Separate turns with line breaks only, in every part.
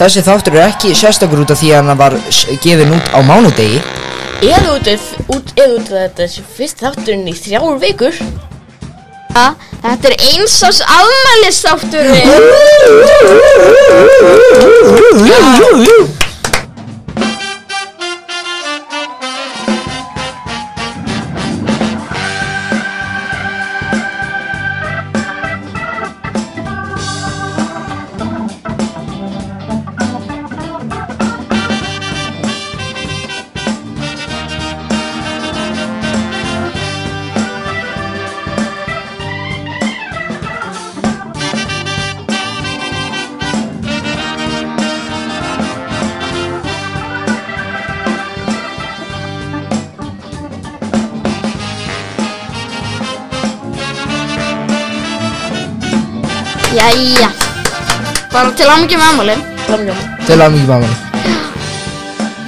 Þessi þáttur er ekki sérstakur út af því að hann var s- gefinn út á mánudegi.
Eða út af, út, eða út af þetta sem fyrst þátturinn í þrjár vikur
Ha, Þetta er eins ás afmælistátturinn Jæja Bara til ámyggjum með afmæli
Framjá
Til að mikið mamma.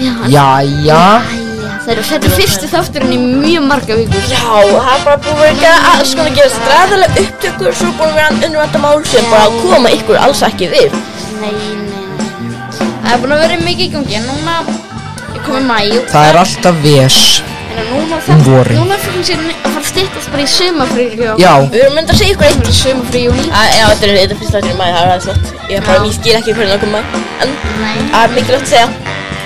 Jæja
Jæja.
Þetta er- þetta er fyrsti þátturinn í mjög marga vikur
Já, það er bara búið að vera ekki að sko að gerast ræðilega upptökur Svo búin að vera hann unnvandamál sem bara koma ykkur alls ekki við
Nei, nei, nei Það er búin að vera mikið í gangi en Núna er komið mæ
Það er alltaf ves.
En núna
um
það
vorin.
Núna fyrir sér að fara að styttast bara í sumafrí
Já,
Við erum myndið að segja ykkur eitt
Það er sumafrí júni
Æ, Já, þetta er þetta er fyrst þátturinn í maður, það er ræðislegt Ég er bara,
Já.
ég skil ekki hvernig það koma En
Nei
Það er mikilvægt að segja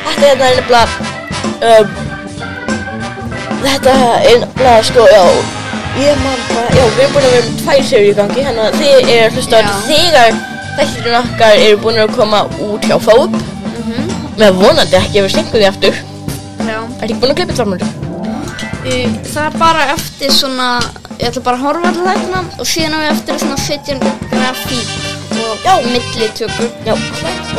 Þetta hérna er nefnilega um, Þetta er nefnilega sko, já Ég man bara, já, við erum búin að vera með tvær seríu í gangi Þannig að þið eru að hlusta á
Já.
þetta þegar Þættirinn okkar eru búin að koma út hjá Fáup
Mhm.
Með vonandi ekki að vera sengu því aftur
Já
Er ekki búin að klippa tlámur?
Uh, Það er bara eftir svona, ég ætla bara að horfa til þarna og síðan á ég eftir svona 17 grafík og
Já.
millitökur.
Já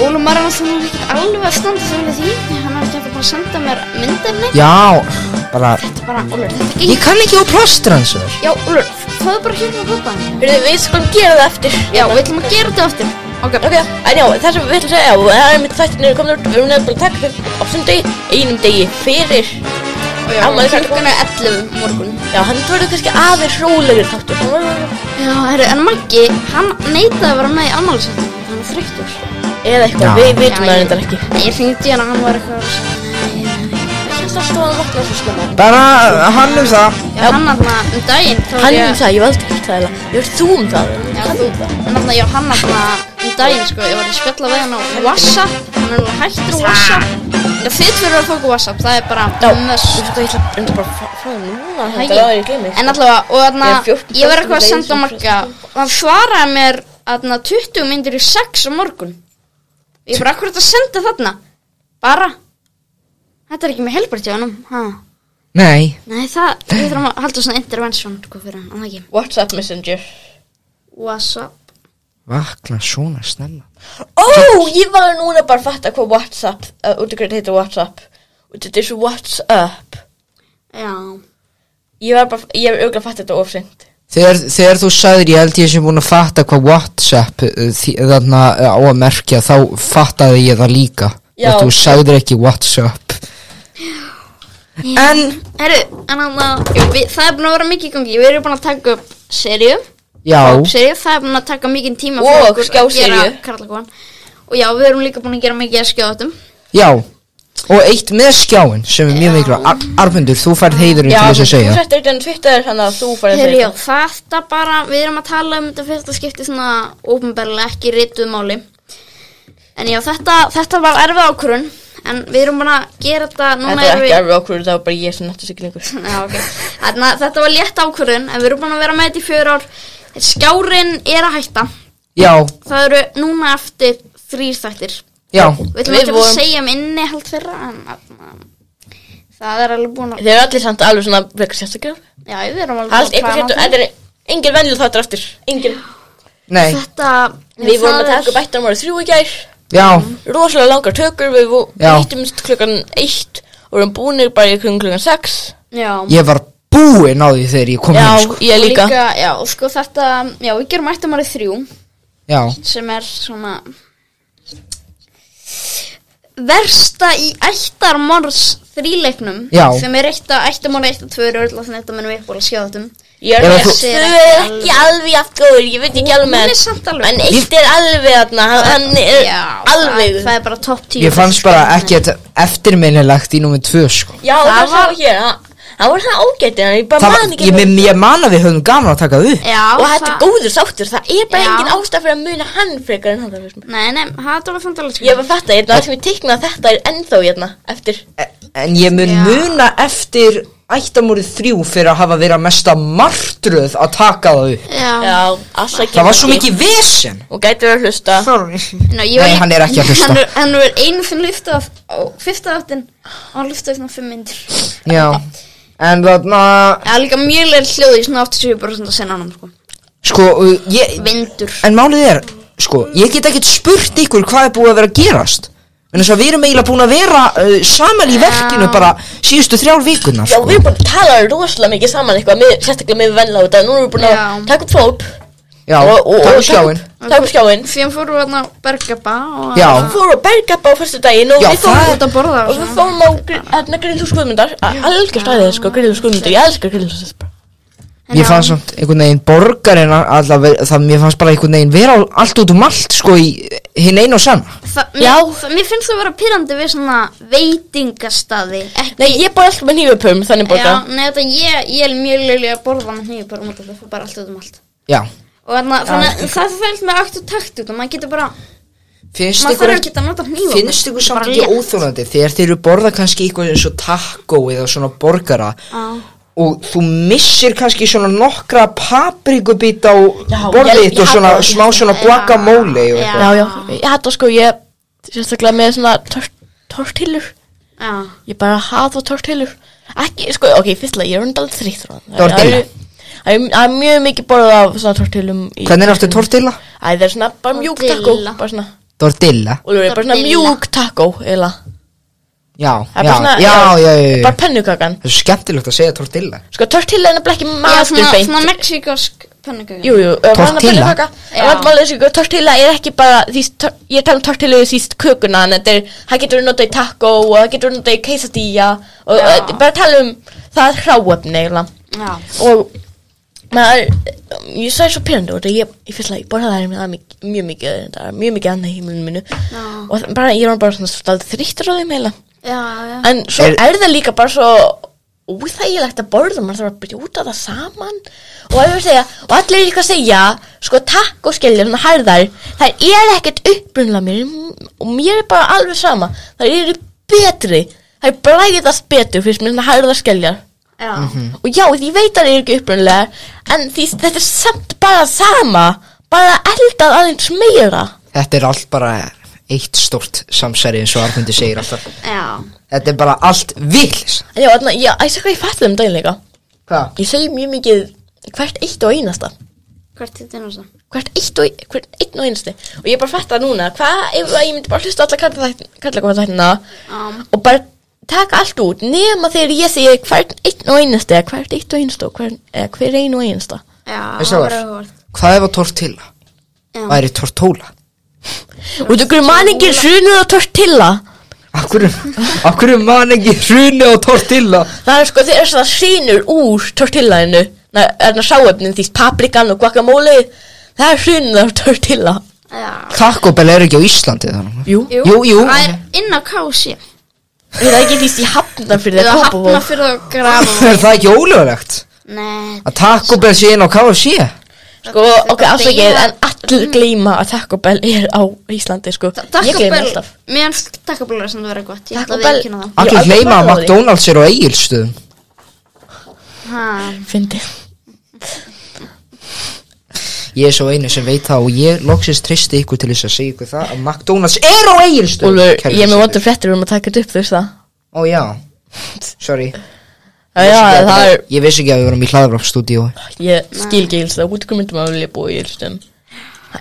Óla Marra var svona ekkert alveg að standa sig vel að því, hann var ekki eftir bara að senda mér myndefni.
já, bara,
Þetta er bara, Óla, þetta
ég
gengur.
kann ekki á plóstransver.
Já, Óla, fáðu bara hérna að hoppa hann.
Við við skulum gera það eftir
Já, við ætlum að gera þetta aftur. Ok.
Ok, en já, það sem við ætlum að segja, já, það er mitt þættin eru komin út, við erum nefnilega að taka upp á sundi, einum degi fyrir
Já,
afmæli klukkan-
klukkan er 11 morgun.
Já, hann verður kannski aðeins rólegri þáttur. Hann verður-
Já, herru, en Maggi, hann neitaði að vera með í afmælisættum, hann er þrygtur.
Eða eitthvað,
Já.
við vitum
Já,
það
ég-
reyndar ekki.
Ég hringdi í hann og hann var eitthvað að segja, nei, nei, nei.
Ég held alltaf að hann vakna svo snemma.
Bara hann um það.
Já, hann aðna um daginn þá
Hann
var ég-
um það, ég var aldrei hitt það eða. Ég veist þú um það.
Já, þú En aðna, já, hann aðna um daginn, sko Ég var að spjalla við hann á WhatsApp Hann er nú hættur á WhatsApp Já, þið fyrir að fóka WhatsApp, það er
Já,
bara
þú
möss
veist það, ég ætla reyndar bara að frá það núna.
Hæ,
Þetta er aðeins glemir.
En allavega, og aðna
sko. Ég er 14
Ég var eitthvað að
days
senda á
in
marga Hann svaraði mér aðna 20 myndir í 6 á morgun Ég er bara akkurat að senda þarna Bara Þetta er ekki með helbært hjá hann
Nei,
Nei, það, við þurfum að halda svona intervention sko, fyrir hann, en það ekki
WhatsApp Messenger.
WhatsApp
vakna svona snemma.
Ó, ég var núna bara að fatta hvað WhatsApp, uh, út af hverju þetta heitir WhatsApp. Út af þetta er svo WhatsApp.
Já
Ég var bara, ég hef auðvitað fatta þetta ofsengt.
Þegar, þegar þú sagðir ég held ég sem búin að fatta hvað Whatsapp uh, því- þarna uh, á að merkja þá fattaði ég það líka
Já.
að þú sagðir ekki Whatsapp En,
Herru, en annað, við, það er búin að vera mikið í gangi Við erum búin að taka upp serju
já,
Serju, það er búin að taka mikið tíma
Og
fyrir okkur að
skjáseríu.
gera karlakofan. Og já, við erum líka búin að gera mikið að skjáðatum
já Og eitt með skjáin sem er mjög mikla Ar Arbendur, þú færð heiðurinn
Já,
til þess
þú
að segja
settir þetta en Twitter þannig að þú farið
Herru,
að
já, þetta bara, við erum að tala um þetta fyrsta skipti svona Ópenbarlega ekki rituð máli En já, þetta, þetta var erfið ákvörun En við erum búin að gera þetta Núna
Þetta er
erum
ekki
við
erfið okkur, það var bara ég sem nættu sig lengur.
Já, ok. Þarna, þetta var létt ákvörun En við erum búin að vera með þetta í fjör ár Skjárin er að hætta
Já,
Það eru núna eftir þrýr þættir
já,
Við ætlum
Við
ekki að
vorum-
segja um innihald þeirra en þarna, það er alveg búin að
Þeir eru allir samt alveg svona vekkar sérstakar.
Já, við erum alveg
Allt ykkur
plana
sérstakar,
það.
þetta er engin venjuleg þáttur aftur. Engin.
nei,
Þetta
Við vorum að
það er-
taka upp eitt ára þrjú í gær,
já,
rosalega langar tökur, við vo-
Já.
hittumst klukkan eitt og vorum búinir bara í kring klukkan sex.
Já,
ég var búinn á því þegar ég kom
Já,
inn sko.
ég
og
líka.
Já, og sko þetta Já, við gerum ættum árið þrjú
Já,
sem er svona versta í ættarmorðs þríleiknum
Já.
sem er eitt að ættarmorð, eitt að tvö eru öll að þetta mennum við búin að skjáða þetta um.
Ég
Ef
er
að
ekki,
þú-
þú er ekki alveg aft góður, ég veit ekki alveg
hún
með
er samt alveg
En eitt er alveg þarna, hann- hann er
Já,
alveg
það, það er bara topp 10
Ég fannst bara ekkert eftirminnilegt í númið tvö sko
Já,
það
það
var-
sá hér, hann- hann var það ágætið, hann ég bara
Það var,
man
ég,
ekki
ég, ég man að við höfum gaman að taka það upp
Já,
Og þetta er
það-
góður sáttur, það er bara
Já.
engin ástæð fyrir að muna hann frekar en hann það fyrst
Nei, nei, það var samt alveg
Ég var fatta, ég það sem ég teiknaði þetta er ennþá hérna, eftir
En ég mun
Já.
muna eftir ættamúrið þrjú fyrir að hafa verið að mesta martröð að taka það upp
Já,
Já, afsakið
Það var svo
kannski.
mikið vesen
Hún gæti verið að hlusta
Sorry
Ná,
Nei, hann er ekki að hlusta.
Hann er, hann er einu finn lyftað á fyrsta þáttin og hann lyftaði svona 5 myndir
Já En þarna
Það er líka mjög leir hljóði í svona 87% að senna hann sko.
Sko uh, ég,
Vindur
En málið er Sko ég get ekkert spurt ykkur hvað er búið að vera að gerast En þess að við erum eiginlega búin að vera uh, saman í verkinu bara síðustu þrjár vikunar
Já,
sko.
við erum búin að tala rosalega mikið saman eitthvað, með, sérstaklega með venla út að nú erum við búin að
Já.
taka upp fólk
Já,
og- og-
takk
og-
um skjáin
Takk fyrir skjáinn.
Því hann fór hann á Bergaba og
Já.
Við fórum að berga upp á fyrstu daginn og
Já,
við
það-
fórum
Út að borða og
Og við
svona.
fórum á gr- hérna grillhús guðmyndar Algjör stæðið sko, grillhús guðmyndar Ég elskar grillhús guðmyndar
En
Mér
já,
fannst samt einhvern veginn borgarinn allavega, það mér fannst bara einhvern veginn vera á- allt út um allt sko í hinn einu og sama.
það, mér,
Já.
það, mér finnst það vera pyrrandi við svona veitingastaði Ekki
Nei, ég bara elskar með nýjupum þannig borga
Já, nei, þetta ég, ég er mjög leilig að borða með hnífi bara út af það, bara allt út um allt
Já.
Og þannig, þannig að það fælt með akt og takt út og maður getur bara,
Finnst
maður
ykkur,
þarf
ekki,
ekki að nota hnífa
finnst ykkur samt ekki óþólandi þegar þeir eru borða kannski eitthvað eins og taco eða svona borgara
óþ
og þú missir kannski svona nokkra paprikubít á
Já,
borðið
ég-
þitt og
ég
svona
hafði-
smá svona
Já.
guacamole og
Já.
eitthvað.
Já, já, ég hata sko, ég Sérstaklega með svona tort- tortillur
Já,
Ég bara hata tortillur Ekki, sko, ok, fyrstlega, ég er hundar þrýttur
Tortilla.
Það er- það er mjög mikið borðað af svona tortillum í-
Hvernig er aftur tortilla?
Æ, það er svona bara mjúk taco
Tortilla.
Bara svona
Tortilla?
Og það er bara svona
Tortilla.
mjúk taco eða
Já,
Það er
já,
bara svona-
já, já, já, já.
Bara pennukakan
Það er svo skemmtilegt að segja tortilla.
Sko, tortilla er nefnilega ekki
já
matur
svona,
beint
svona mexikosk pannukaka
Jú, jú, uh,
Tortilla?
pannukaka.
Já.
Vandmálið er sko, tortilla er ekki bara því, tor- Ég er að tala um tortilla því kökuna En þetta er, það getur notað í taco Og það getur notað í quesadilla Og
Já.
uh, bara tala um, það er hráöfni eiginlega.
Já,
Og maður, ég sagði svo pyrrandi út og ég, ég fyrst að ég borða það það er mik- mjög mikið, það er mjög mikið annað í heimilinu minu
Já.
og það- bara, ég var bara svona staldið þrýttur á þeim heila
já, já
En svo
Er-
er, það líka bara svo óþægilegt að borða, maður þarf að brjóta það saman og, ef við segja, og allir líka að segja, sko takk og skelja svona harðar, það er ekkert upprunlega mér og mér er bara alveg sama, það eru betri það er bræðast betur fyrst mér svona harðar skeljar
Já,
og já, því ég veit að það eru ekki upprunlega en því þetta er samt bara sama bara eldað aðeins meira
Þetta er allt bara eitt stórt samsæri eins og Armundi segir alltaf.
já
Þetta er bara allt vill
en já, þarna- já, ég sé hvað ég fætti um daginn líka
Hvað?
ég segi mjög mikið hvert eitt og einasta
Hvert er þetta nú það?
hvert eitt og, hvert einn og einasti og ég bara fatta núna, hvað ef að ég myndi bara hlusta alla karlakofæðtækna
Já,
og bara taka allt út nema þegar ég segi hvert einn og einasti eða hvert eitt og einasta og hver, eða hver einn og einasta
já,
Þessi var.
það var áhugavert.
Hvað ef að tortilla?
Já.
Væri tortóla?
og þú grunum manningir hrunið og tortilla
Akkur, akkur man ekki hruni á tortilla?
það er sko þeir eru svona sínur úr tortillaðinu það er það sáöfnin því paprikan og guacamole það er hrunið af tortilla
Já
Taco Bell er ekki á Íslandi þannig.
jú,
Jú, jú.
Það er inn á kási
er það ekki því því hafna fyrir
Eða
það
hafna fyrir að grafa
Er það ekki ólögulegt?
Nei
Að Taco Bell sé inn á KFC?
Sko, ok, afsakið, en allir gleyma að Taco Bell er á Íslandi, sko. Ég
Takk og
gleyma
bel
alltaf.
Mér finnst takk og bel er sem það verið gott Ég
Taco
ætla að
Bell-
viðkynna það
Ég
Akkur
aldrei
gleyma að
borðað því.
McDonalds er á Egilstöðum
Ha,
Fyndi.
Ég er svo einu sem veit það og ég loksins tristi ykkur til þess að segja ykkur það að McDonalds er á Egilstöðum
Úlfur,
kæru
ég er með
hlustendur.
vondur fréttir um að taka þetta upp, þú veist það.
Ó já, sorry
Já, já, það er,
Ég vissi ekki að við vorum í hlaðvarpstúdíu
ég skil ekki gils það, út hvað myndum að vilja búa í Ílstum.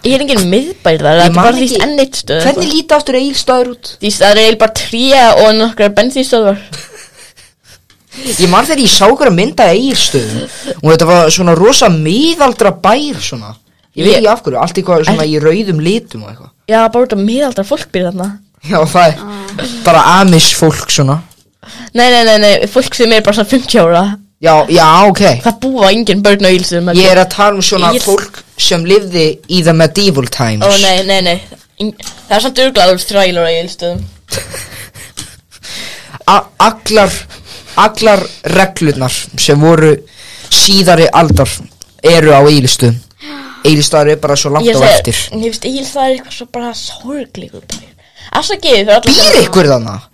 Ég er enginn miðbær þar, það
Ég
er
man
bara
ekki-
því enn eitt stöð.
Hvernig líti aftur Egilstöður út?
Því það er eiginlega bara tré og nokkrar bensinstöðvar.
Ég man þegar ég sá okkur að mynda eigirstöðum og þetta var svona rosa miðaldra bær svona Ég veit
Ég-
ekki af hverju, allt eitthvað svona í rauðum litum og eitthvað
Já, bara út af miðaldra fólk býr þarna.
Já, það er
Ah.
bara amish fólk svona
Nei, nei, nei, nei, fólk sem er bara svona 50 ára
Já, já, ok
Það búa engin börn á ílsum
Ég er að tala um svona
Ég-
fólk sem lifði í the medieval times
Ó, nei, nei, nei Eng- Það er samt örglaður þrælur á ílsum
A- Allar, allar reglurnar sem voru síðari aldar eru á eilistu Eilistæður er bara svo langt á eftir
Ég finnst íls það er eitthvað svo bara sorgleikur bær. Afsakið fyrir allir
Býr ykkur þannig?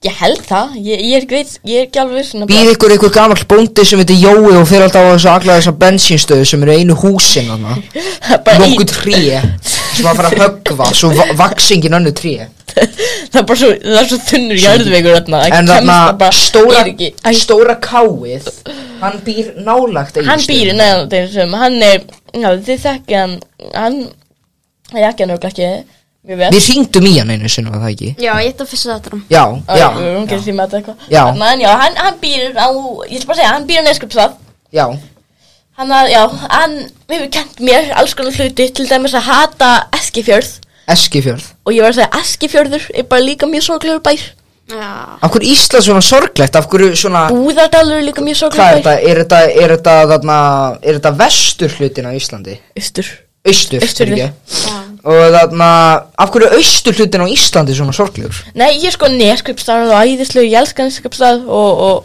Ég held það, ég, ég er ekki veit, ég er ekki alveg viss, svona
Býr ykkur ykkur gamall bóndi sem heitir Jói og fyrir alltaf á þessu alla þessar bensínstöðu sem eru einu húsin þannig
bara, bara í,
Nokku tré sem var bara að höggva svo va vaksingin önnu tré
það er bara svo, það er svo þunnur jarðveikur þarna
En
kemst það
þarna
bara-
stóra,
er ekki, Æ,
stóra káið Hann býr nálagt einu
Hann býr í neðandeginsum, hann er, já þið þekkið hann, hann, ég ekki hann örgla ekki, mjög vel
Við hringdum í hann einu sinni var það ekki
Já, ég ætla að fyrsta þetta hann.
Já,
Æ,
já,
Hún gerir því með þetta eitthvað
Já.
Þarna, En já, hann, hann býr á, ég ætla bara að segja, hann býr á neskupsað
já
Hann að, já, hann hefur kent mér alls konar hluti til dæmis að hata Eskifjörð
Eskifjörð
Og ég var að segja, Eskifjörður er bara líka mjög sorglegur bær
Já.
Af hverju Ísland svona sorglegt, af hverju svona
Búðardalur er líka mjög
Ah. Hvað er
sorglegur
þetta, er þetta, er þetta þarna Er þetta vestur hlutin á Íslandi?
bær Östur
Austur,
Austurhluti.
fyrir
Já.
Og þarna, af hverju austur hlutin á Íslandi svona sorglegur?
Nei, ég er sko neskupsað og æðislegur, ég elska neskupsað og, og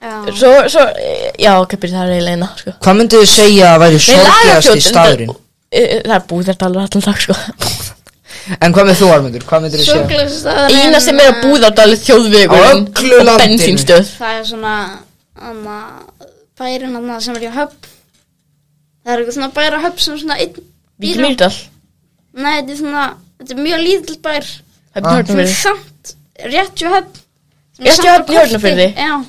Ah.
Já.
svo, svo, e, já, ok, byrja það er eiginlega eina, sko
Hvað myndið þið segja að væri
Nei,
sorglegasti
Lagarfljótin,
staðurinn?
Það e, e, það er búðardalur allan dag sko
En hvað með þú, Armundur? Hvað myndir þið segja?
Sorglegast að
Eina sem er að búðardalur þjóðvegurinn
Á öllu
og
landinu.
bensínstöð
Það er svona, anna, bærin anna sem er hjá höpp. Það er eitthvað svona bæra höpp sem svona einn býr
Vík
á.
Mýrdal
Nei, þetta er svona, þetta er mjög lítill bær
Það
sem
er
Ah.
er
björnumverið
samt rétt hjá höpp. sem er
Rétt hjá
samt á
Höfn í Hornafirði?
korti. Já.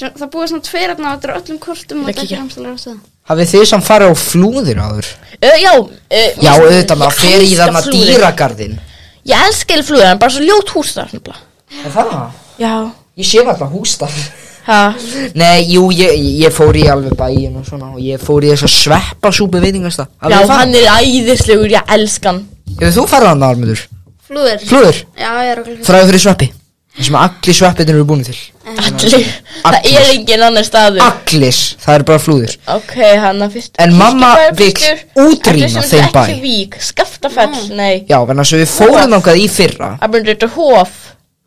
Sem, það búið svona tveir aðna á þetta er á öllum kortum og
Ég
þetta er
kíkja.
framstæðlega ástæða.
Hafið þið samt farið á flúðir áður?
Uh, já, uh,
Já, auðvitað maður fer í þarna
dýra
dýragarðin
Ég elska eða flúður, en bara svo ljót hús þar nefnilega.
Er það?
Já
Ég sé alltaf hústað
ha.
Nei, jú, ég, ég fór í alveg bæin og svona Og ég fór í þess að sveppa súpu veitingasta
Já, hann er æðislegur, ég elska hann
Hefur þú farið hann armundur?
Flúður.
Flúður,
Já, ég er okkur.
fræðu fyrir sveppi Það sem allir sveppin eru búin til
Allir, það
Allir.
er engin annar staður
Allir, það er bara flúður
Ok, hann að fyrst
En
fyrstu
mamma
bæjar
vill
fyrstur.
útrýma
Allir sem
þeim
þetta
bæ.
Ekki vík, skaftafell, nei
Já, þannig að við fórum þangað í fyrra
Það myndir þetta hof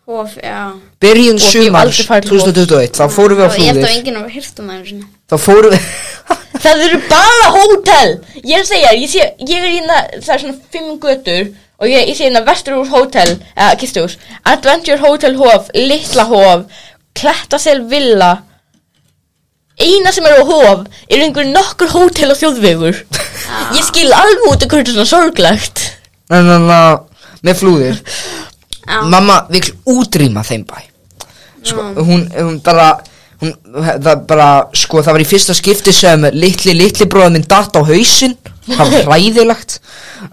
Hóf, já.
Byrjun
Og ég hef
sumars
aldrei farið til
2021 Þá fórum við á
Og ég held að
flúðir
enginn hafa hýrt um það einu sinni.
Þá fórum við
Það eru bara hótel Ég er að segja, ég, sé, ég er hérna Það er svona fimm götur Og ég, ég sé hérna Vesturúr hótel Eða kistuhús Adventure Hotel Hof Litla Hof Klettasel Villa Eina sem er á hof Er einhver nokkur hótel á þjóðvegur Ég skil alveg út Hvernig þetta er svona sorglegt
Þannig að með flúðir
Já.
Mamma vill útrýma þeim bæ sko, hún, hún bara hún, það bara, sko, það var í fyrsta skipti sem litli, litli bróðum minn datt á hausinn það var hræðilegt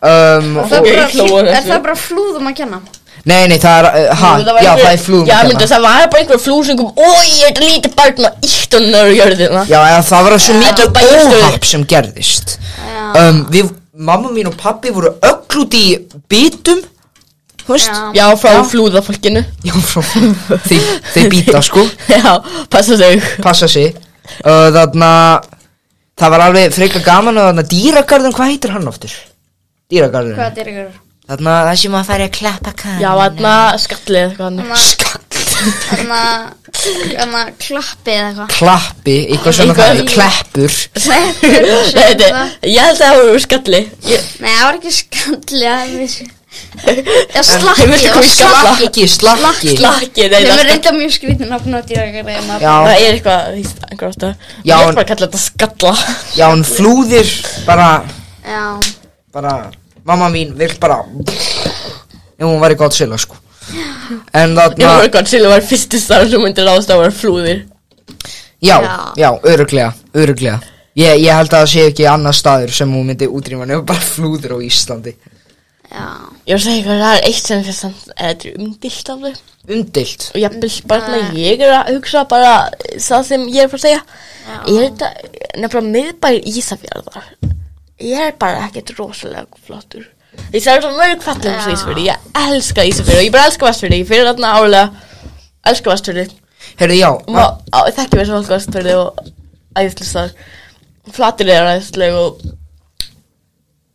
um,
Það er
og,
Ég hló
bara
að
flú- er
þessu.
það bara flúðum að kenna?
nei, nei, það er uh, ha,
Jú, var
já,
einhver-
það er flúðum
Já,
hérna.
myndi það var bara einhver flúð sem kom Ói, þetta lítið barn og ítt og nörður jörðina
já, eða, það var svo
Þetta
mikið
bæjarstjóri.
óhapp sem gerðist
Já.
um, við, mamma mín og pappi voru öll út í bitum þú veist
Já.
Já, frá flúðafólkinu
já, frá, þeir, þeir býta sko
Já, passa þau
passa sig uh, þarna það var alveg frekar gaman og þarna dýragarðum, hvað heitir hann oftur? dýragarðum
Hvað er ykkur?
þarna það sem að fara að klappa kann
Já, þarna skallið eitthvað annað.
skall
Þannig að klappi eða eitthvað
klappi, eitthvað svona
Eitthvað-
það kleppur
Sveppur,
Nei,
sem
þetta-
það-
Ég held að það voru skalli Ég-
Nei, það var ekki skalli það er vissi. Já, slakki
Hefur þetta
það var
komið skalla?
slakki.
slakki, slakki
Slakki, nei,
Þeim
það
er reynda mjög skrítin að opna á dýragarðina
já,
Það er eitthvað, þú veist, einhver átt að
Já,
Ég
en-
ætla bara að kalla þetta skalla
já, hún flúðir bara,
Já,
bara mamma mín vill bara ef hún var í gott sila sko en
Ég var
þarna,
eitthvað, Silvi var fyrstu starf sem myndi ráðast að vera flúðir
já,
Já.
já, öruglega öruglega, ég, ég held að það sé ekki annar staður sem hún myndi útrýma nefnum bara flúðir á Íslandi
já
Ég var að segja eitthvað, það er eitt sem fyrst samt Þetta er umdilt af þau
umdilt
Og jafnvel bara svona, ég er að hugsa bara Það sem ég er að fara að segja Ég er þetta, nefnilega miðbær Ísafjörðar Ég er bara ekkert rosalega flottur Ég sagði svo mörg fallum
Já.
svo Ísfjörði Ég elska Ísfjörði og ég bara elska Vestfjörði Ég fyrir þarna álega Elska Vestfjörði
Herðu, já,
Og má, á, ég þekki mér svo fólk á Vestfjörði og æðislistar Flatilir er æðisleg og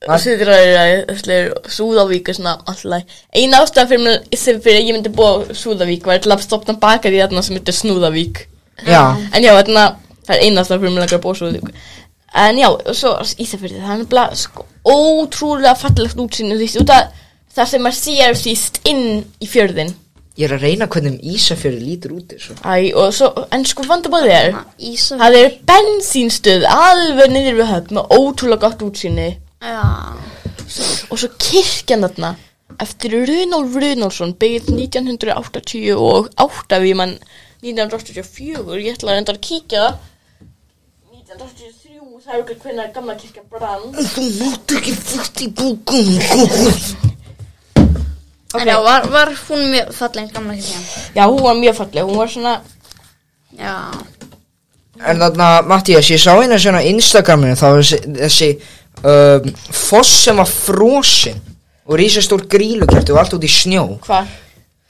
Hvað?
Suðræðir er æðisleg og Súðavík er svona alltaf Eina ástæðan fyrir mér sem fyrir ég myndi búa á Súðavík var til að stopna baka því þarna sem heitir Snúðavík
já
En já, þarna, það er eina ástæðan fyrir mig langar að búa svo þig. En já, og svo Ísafjörði, það er nefnilega sko, ótrúlega fallegt útsýn og því út að það sem maður sér síst inn í fjörðin.
Ég er að reyna hvernig Ísafjörði lítur út þessu
Æ, og svo, en sko vandabóðið er,
Ísa
það er bensínstöð alveg niður við höfn með ótrúlega gott útsýni
Já
og svo kirkjan þarna eftir Runolf Runolfsson byggð 1988 og við mann 1984 ég ætla að enda að kíkja 1983 það er okkur hvernig gamla kirkja brann
Þú mátt ekki fætt í búkum
En já, var, var hún mjög falleg gamla kirkja?
já hún var mjög falleg hún var svona
Já.
En þarna, Mattías, ég sá hérna svona á Instagraminu þá var þessi, þessi um, foss sem var frosin og rísastór grílukerti og allt út í snjó
hvað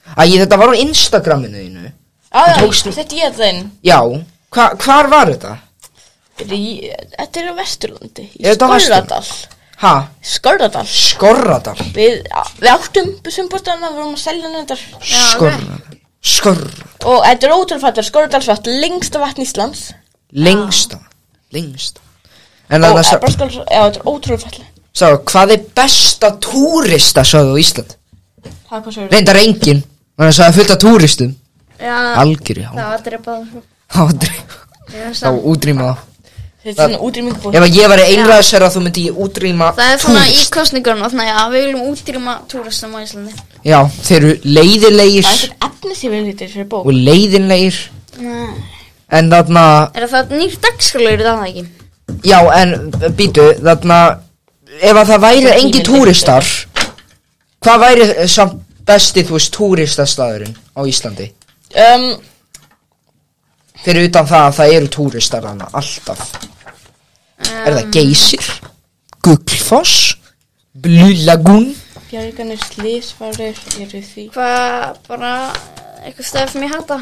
Æ, þetta var á Instagraminu þínu
ah, já,
Tókst-
þetta ég þinn
Já, hva, hvar var þetta?
þetta er á Vesturlandi í
Er þetta á
Skorradal
Ha,
Skorradal
skorradal
við, við áttum busumbúrstæðan við vorum að selja hann þetta
Skorradal Skorradal
og þetta er ótrúlega falleg Skorradalsvatt lengsta vatn Íslands
Lengsta Lengsta En þarna,
og er bara
sá-
skal, já, þetta er ótrúlega falleg
sá, hvað er besta túrista sáðu á Ísland?
Það er hvað sér
Reyndar engin, þannig að það er fullt af túristum
Já.
Algjöri,
Það var drepað.
þá útrýma það
Þetta er svona útrýming búið
Ef að ég væri einræðisherra þá myndi ég útrýma
Það er svona í
túrist.
kostningunum, þannig að við viljum útrýma túristum á Íslandi.
Já, þeir eru leiðilegir
Það er ekkert efni sem við lítið fyrir bók
og leiðinlegir
Nei.
En þarna,
Er það nýr dagskalur í dag það ekki?
já en býtu, þarna Ef að það væri
Þetta
engi
ímyndin.
túristar Hvað væri eh, samt besti, þú veist, túristastaðurinn á Íslandi?
um,
Fyrir utan það að það eru túristar hana, alltaf Er það geysir? Gullfoss? Blue Lagoon?
Bjarganir slísvarir eru því
Hvað, bara eitthvað stæði sem ég hata.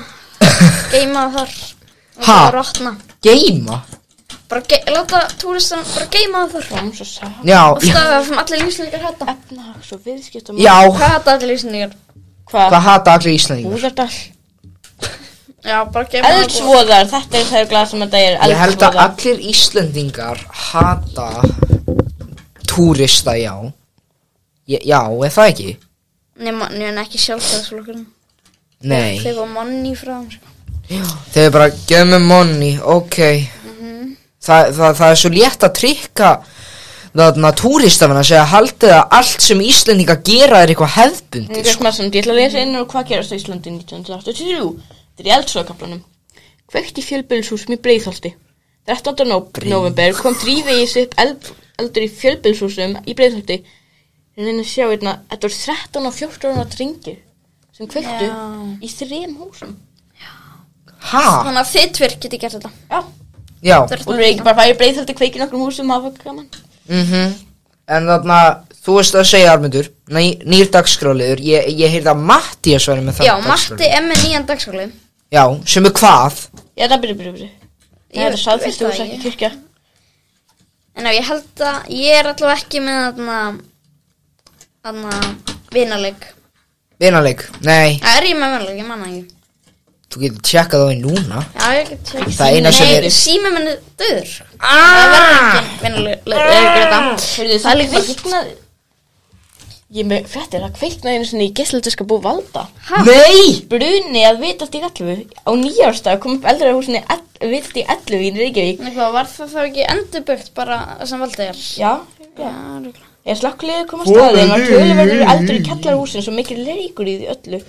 Geima það þar. Og
Ha?
bara Rotna.
Geima?
Bara ge láta túristum bara geima það þar.
Fram svo sá
Já,
Og staða sem allir lífslingar hata.
Efnahags og viðskiptum
já,
Hvað hata allir lífslingar?
Hvað?
hvað hata allir Íslandingar?
Búðardal
Já, bara geima það þar.
Eldsvoðar Þetta er það glas sem þetta er
Ég held að
eldsvoðar.
allir Íslendingar hata túrista, já. Ég, já, er það ekki?
Nema, nema ekki sjálfstæðsflokkurinn.
Nei.
Þeir var manni frá þeim, sko.
Þeir bara, gef mér money, ok.
Mhm.
Þa, það, það er svo létt að trykka þarna túristafana að segja haldið að allt sem Íslendingar gera er eitthvað
Nú
hefðbundið.
gerst maður svona, ég ætla að lesa inn og hvað gerast á Íslandi 1983. Þetta er í eldsvoðakaplanum. Kveikt í fjölbyrðshúsum í Breiðholti. 13. nóp- nóvember kom þrývegis upp eld, eldur í fjölbyrðshúsum í Breiðholti. Ég reyna að sjá hérna, þetta voru 13 og 14 ára drengir sem kveiktu
Já.
í þrem húsum.
Hæ?
Þannig að þið tver geti gert þetta.
Já,
Já.
og þú er ekki bara að fara í Breiðholti kveikið nokkrum húsum, það var gaman.
Mm En þarna, þú veist að segja, Armundur, ný, nýr dagskráliður, ég, ég heyrði að Matti að sværi með það.
Já, Matti er með nýjan dagskóli.
Já, sem er hvað?
Já, það byrju, byrju, byrju. Nei,
Ég
þetta er
veit
sáðfyrstu
það
hús,
ekki.
ekki kirkja.
En ef ég held að ég er allavega ekki með þarna þarna vinarleik.
Vinarleik, nei.
Það er ég með vinarleik, ég manna ekki.
Þú getur tjekkað á því núna
Já, ég get tjekkt.
Það eina sem
Nei,
er-
sími minni döður. Það verður ekki vinarleik.
Heyrðu,
Það er líka bara
kviknaði- Ég með fréttir að kveiknaði einu sinni í gæstlöldiska bú valda.
Ha?
Nei!
Bruni að vitast í rellu. Á nýjárstað kom upp eldra húsinni vitast í ellu í Reykjavík.
Nei, hvað, var það þá ekki endurbyggt bara sem valdið er?
Já,
Já,
já.
örugglega.
Ég slökkulegði kom að staðin var töluverður eldur í kjallarhúsinu svo mikil reykur í því öllu.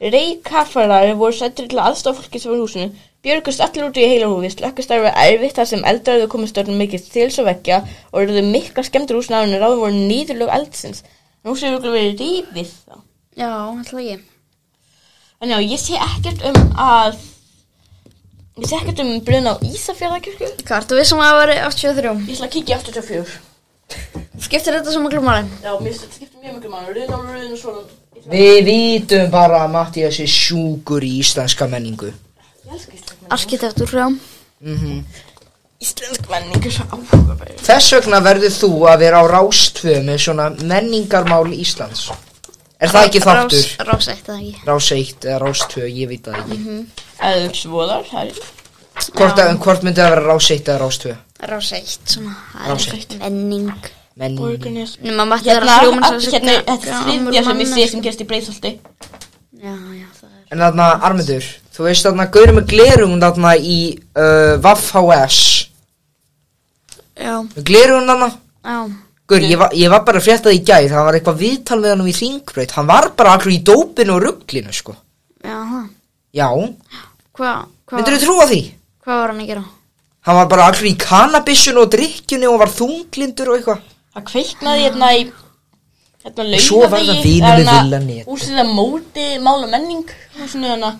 Reykkafarar voru sættir til aðstofa fólki sem var í húsinu. Björgust allir út í heilarhúfi, slökkustarfi var erfitt þar sem eldraðu komist orðin mikið þils og veggja og eruðu mikla skemmtur húsinu áður en ráðum voru nýðurlög eldsins. Nú séu við verið rífið þá.
Já, alltaf ekki.
En já, ég sé ekkert um að... Ég sé ekkert um brun á Ísafjörðakirkju.
um Hvað, ertu við sem að það væri 83?
Ég ætla að kíkja í 84.
Skiptir þetta svo miklu máli?
Já, mér finnst þetta skiptir mjög miklu máli. Runa og runa svona.
Við vítum bara að Mattias er sjúkur í íslenska menningu.
Ég elska íslensk menning.
Arkitektur, já.
Mm
Íslensk menning er svo áhugaverð.
Þess vegna verður þú að vera á rástvö með svona menningarmál Íslands. Er það ekki þáttur?
Rás, rás eitt, eða ekki.
Rás 1 eða rás 2, ég veit það ekki.
Eða svoðar, það er...
Hvort, að, hvort myndi það vera rás 1 eða rás 2?
Rás eitt, svona. það er
Rás
eitthvað Menning.
Menning.
Borgarnes.
Nú, maður mætti vera
Hérna,
hljóman
að- hérna, þetta er þriðja sem ég sé sem gerst í Breiðholti.
Já, já, það er.
En þarna, Armendur, þú veist þarna gaurið með glerung þarna í uh, Vaff HS.
Já,
Glerung þarna?
já.
Gaur, ég, var- ég var bara að frétta það í gæð, það var eitthvað viðtal með hann um í Ringbraut, hann var bara allur í dópinu og rugglinu, sko.
Já, það.
Já,
Hvað, hvað,
myndir þú trúa því?
hvað var hann að gera?
Hann var bara allur í kannabissinu og drikkjunu og var þunglindur og eitthvað.
Það kveiknaði hérna í hérna laugavegi.
Svo var það vinur við villan í þetta.
Úsið að móti mál og menning. og Svona hérna.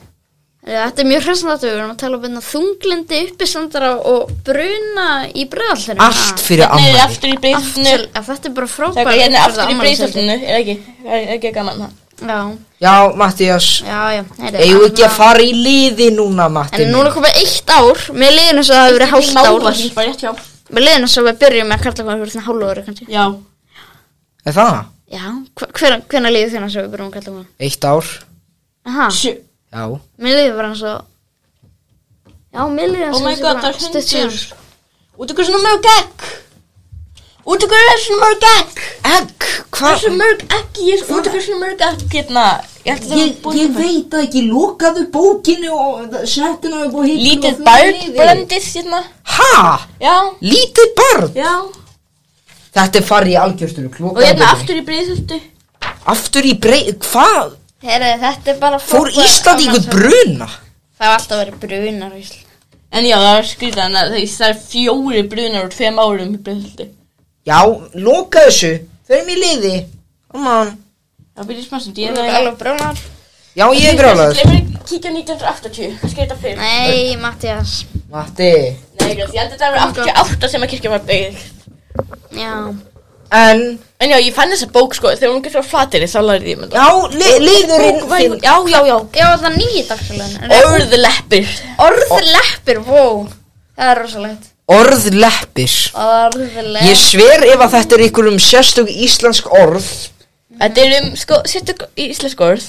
Já, Þetta er mjög hressandatu, við erum að tala um hérna þunglindi uppisandara og bruna í breðallinu.
Allt fyrir
Nei,
ammæli.
Hérna, aftur í Breiðholtinu.
Þetta er bara frábært.
Þegar hérna aftur í
afmælishelgi.
Breiðholtinu. Er ekki, er ekki gaman það.
Já,
Já, Mattias,
já, já. heyrðu,
eigum við ekki að
þarna-
fara í liði núna, Matti?
En núna komið eitt ár, mér liðin þess að það hefur verið hálft
Mála,
ár.
það er rétt hjá.
Mér liðin þess að við byrjum með að kalla hvað hefur þarna hálf ári kannski.
Já.
Er það?
Já, hver, hvernig liði þérna sem við byrjum að kalla hvað?
Eitt ár?
Aha,
Sjö.
Já.
mér liði bara eins og... Já, mér liði
Oh
eins
my
og
god, það er
stutt síðan.
hundur. Út ykkur svona mörg egg. Út ykkur er svona mörg egg.
Egg,
Það er
hvað?
svona mörg egg. Ég er út ykkur svona mörg egg hérna. Ég held að það er búin.
veit að ekki, lokaðu bókinu og setinu upp og hittu
Lítið barn brendist hérna.
Hæ?
Já.
Lítið barn?
Já.
Þetta er farið í algjörsturu
Og
klokka
hérna aftur í breiðhultu.
Aftur í breið, hvað?
Herri, þetta er bara
Fór
frábært
Ísland í einhvern
afmælishelgi.
bruna?
Það var alltaf verið brunar í Ísland.
En já, það var skrítið hann að það er fjóri brunar úr tveim árum í breiðhultu.
Já, loka þessu Förum í liði Come on
Það byrjið smá sem
Ég
dýra.
er alveg brunar.
Já, ég er grálaður
Gleimur ekki kíkja á 1980. Kannski er þetta fyrr.
Nei, Mattias.
Matti
Nei, ég held að þetta var 88 sem að kirkja var byggð.
Já.
En,
En já, ég fann þessa bók sko, þegar hún getur á flatir þá lærði ég um með
já, li, liðurinn
það. Já, já, já.
Ég var alltaf nýi dagsfélagin.
Orðleppir.
Orðleppir, wow. Það er rosalegt.
Orðleppir Ég
Orðleppir.
sver ef að þetta er einhverjum sérstök íslensk orð
Þetta er um, sko, sérstök íslensk orð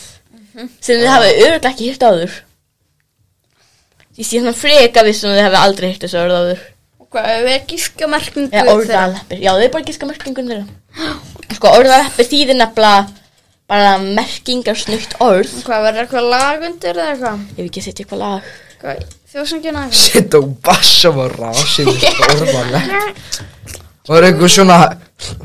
sem þið hafa örugglega ekki hýrt áður. Ég sé svona freka við sem þið hafa aldrei hýrt þessu orð áður.
Hvað, ef við ekki skjá merkingu
Eða orðaleppir. Já, þau er bara gíska merkingun þeirra. Sko, orðaleppir þýðir nefnilega bara merkingarsnutt orð.
Hvað, verður eitthvað lagundir eða eitthvað?
Ég hef ekki sett eitthvað lag.
Hvað, þjóðsangina eitthvað?
Sitt og bassum á rásinu Orðaleppir Það er einhver svona Eh,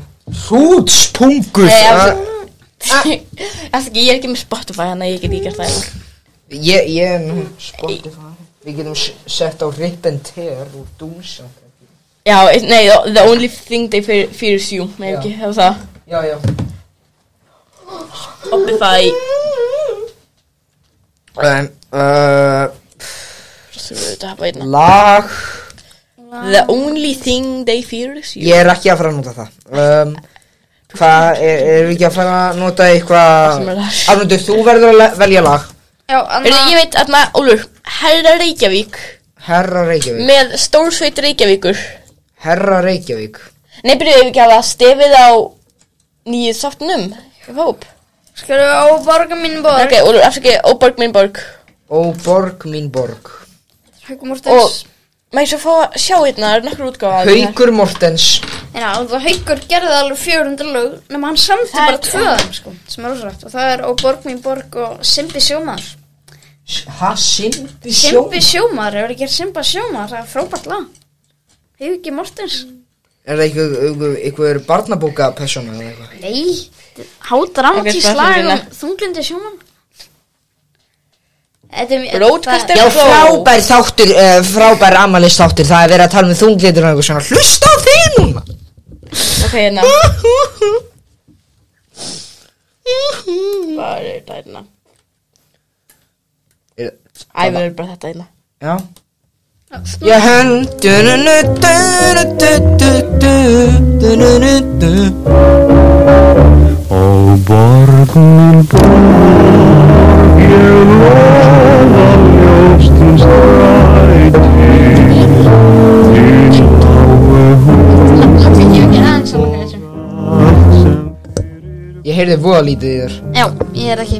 Hrútspungur
Nei,
Það-
Þess ekki, ég er ekki með Spotify, þannig að ég get ekki gert það. hérna.
Ég, ég er nú Spotify Við getum s- sett á Rip and Tear úr Doomsang
Já, it- nei, the- the only thing they fear, fears you, með
Já.
ekki, það var það.
Já, já
Spotify.
um, uh,
Svo við þetta hafa einna.
Lag
The only thing they fear is you.
Ég er ekki að fara að nota það um, Hvað, er, erum við ekki að fara að nota
Það
eitthvað
sem er lag.
Arnundur, þú verður að le- velja lag
Já, anna...
Heyrðu, ég veit að maður, Ólur, Herra Reykjavík
Herra Reykjavík
með Stórsveit Reykjavíkur.
Herra Reykjavík
Nei, byrjuðu við ekki að hafa stefið á nýju sáttunum, ég hóp.
Skurðu á borga mín borg.
Ok, Ólur, afsakið, Óborg minn borg.
Ó borg mín borg
Haukur
Og
Mortens.
maður ég svo fá að sjá hérna, það er nokkur útgáfa. af þessu
Haukur Mortens
En já, og Haukur gerði alveg 400 lög, nema hann samti
Það er-
bara tvö af þeim, sko, sem er rosalegt. Og það er Ó borg mín borg og Simbi sjómaður.
Ha, Simbi Sjó
Simbi sjómaður, hefur ekki Simba sjómaður, það er frábært lag. Hauki Mortens.
Er það einhver, einhver, einhver barnabóka persóna eða eitthvað?
Nei, hádramatísk
Ok,
okay, lag um
spurningarna.
þunglindi sjóman Þetta er mjög-
Broadcaster
Já,
Pro.
frábær þáttur, uh, frábær amalist þáttur, það er verið að tala um þunglindur og eitthvað svona, hlusta á þig núna!
Ok, hérna. Hvað er þetta hérna?
Er-
Æ, við erum bara þetta hérna.
Já, Ég hönd du-nu-nu, du-nu-du-du-du, du-nu-du-du.
Ó borg mín borg, ég lofa ljóstins þræti, þín lágu
Ég er ekki aðeins saman með þessu.
hútt sem
Ég heyrði voða lítið í þér
Já, ég er ekki.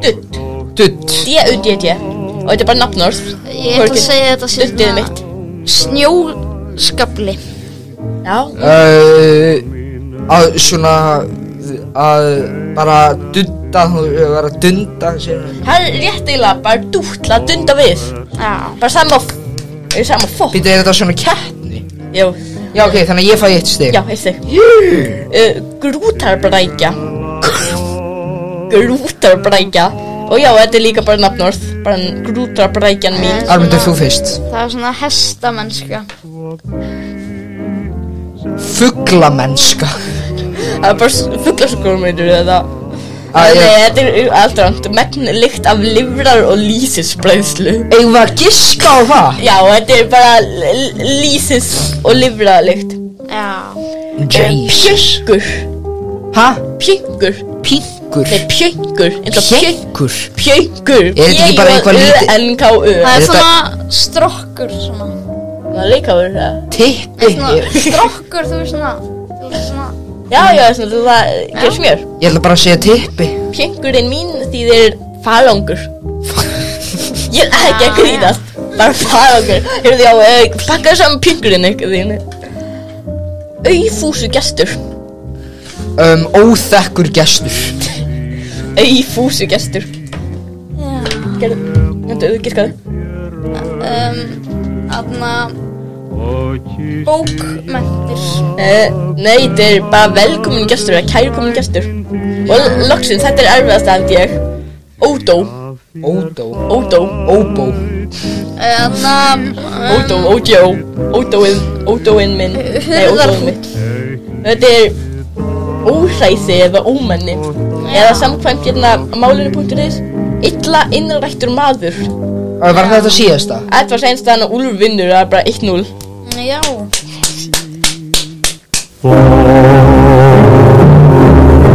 Dutt.
Dutt
D-U-D-D. Og þetta er bara nafnórst.
Ég ætla að segja þetta
Duttið mitt.
Snjóskabli.
Já.
uh, Að svona Að bara dunda Þú verður að dunda sér.
Það er rétt eiginlega bara dútla að dunda við.
Mm.
Já.
Bara sama f... Er sama fokk?
Býtu, er þetta svona keppni?
Jú.
Já, ok, þannig að ég fæ eitt stig
Já, heyrst þig. Uh, grútarbrækja. grútarbrækja. Og já, þetta er líka bara nafnórst. Bara grútarbrækjan mín.
Armundur, þú fyrst
Það er svona hestamennska.
Fuglamennska
Það er bara fugglaskur meitur þetta.
Ah,
Nei,
ég-
þetta er allt rámt. Megn lykt af livrar og lýsisbræðslu.
Eigum við að giska á það?
Já, þetta er bara l- l- lýsis og livraðalykt.
Já.
Jeez
Pjöngur,
Ha?
pjöngur,
Pinkur
nei pjöngur, eins og pjöngur.
Pinkur
Pjöngur,
Er þetta ekki bara eitthvað lítið-
P-J-U-N-K-U
Það
Er
er
þetta-
svona strokkur svona.
Það er líka verið það
Tippi
Er svona strokkur, þú veist svona. þú veist svona.
Já, já, svona, þú- það gerir smjör
Ég ætla bara að segja tippi
Pjöngurinn mín því þeir eru farangur Ég er ekki að grínast Bara farangur Hefur því á, eh, pakkaðu saman pjöngurinn ykkur þínu Auðfúsu gestur
um, Óþekkur gestur
Auðfúsu gestur
Já.
Gerðu, nefndu, gískaðu
Um, aðna
og kýr
bókmenntir.
Eh, Nei, þetta er bara velkomin gestur eða kærkomin gestur Og loksins, þetta er erfiðast held ég Ódó,
Ódó
ódó,
Óbó
Aðna... um,
ódó, ódjó Ódóinn, ódóinn minn Nei, ódóinn mitt Þetta er óhræsi eða ómenni Eða samkvæmt hérna málinu.is Illa innrættur maður
Ö, Var þetta síðasta?
Þetta var sænst að hann að Úlfur vinnur Það er bara 1-0
Já.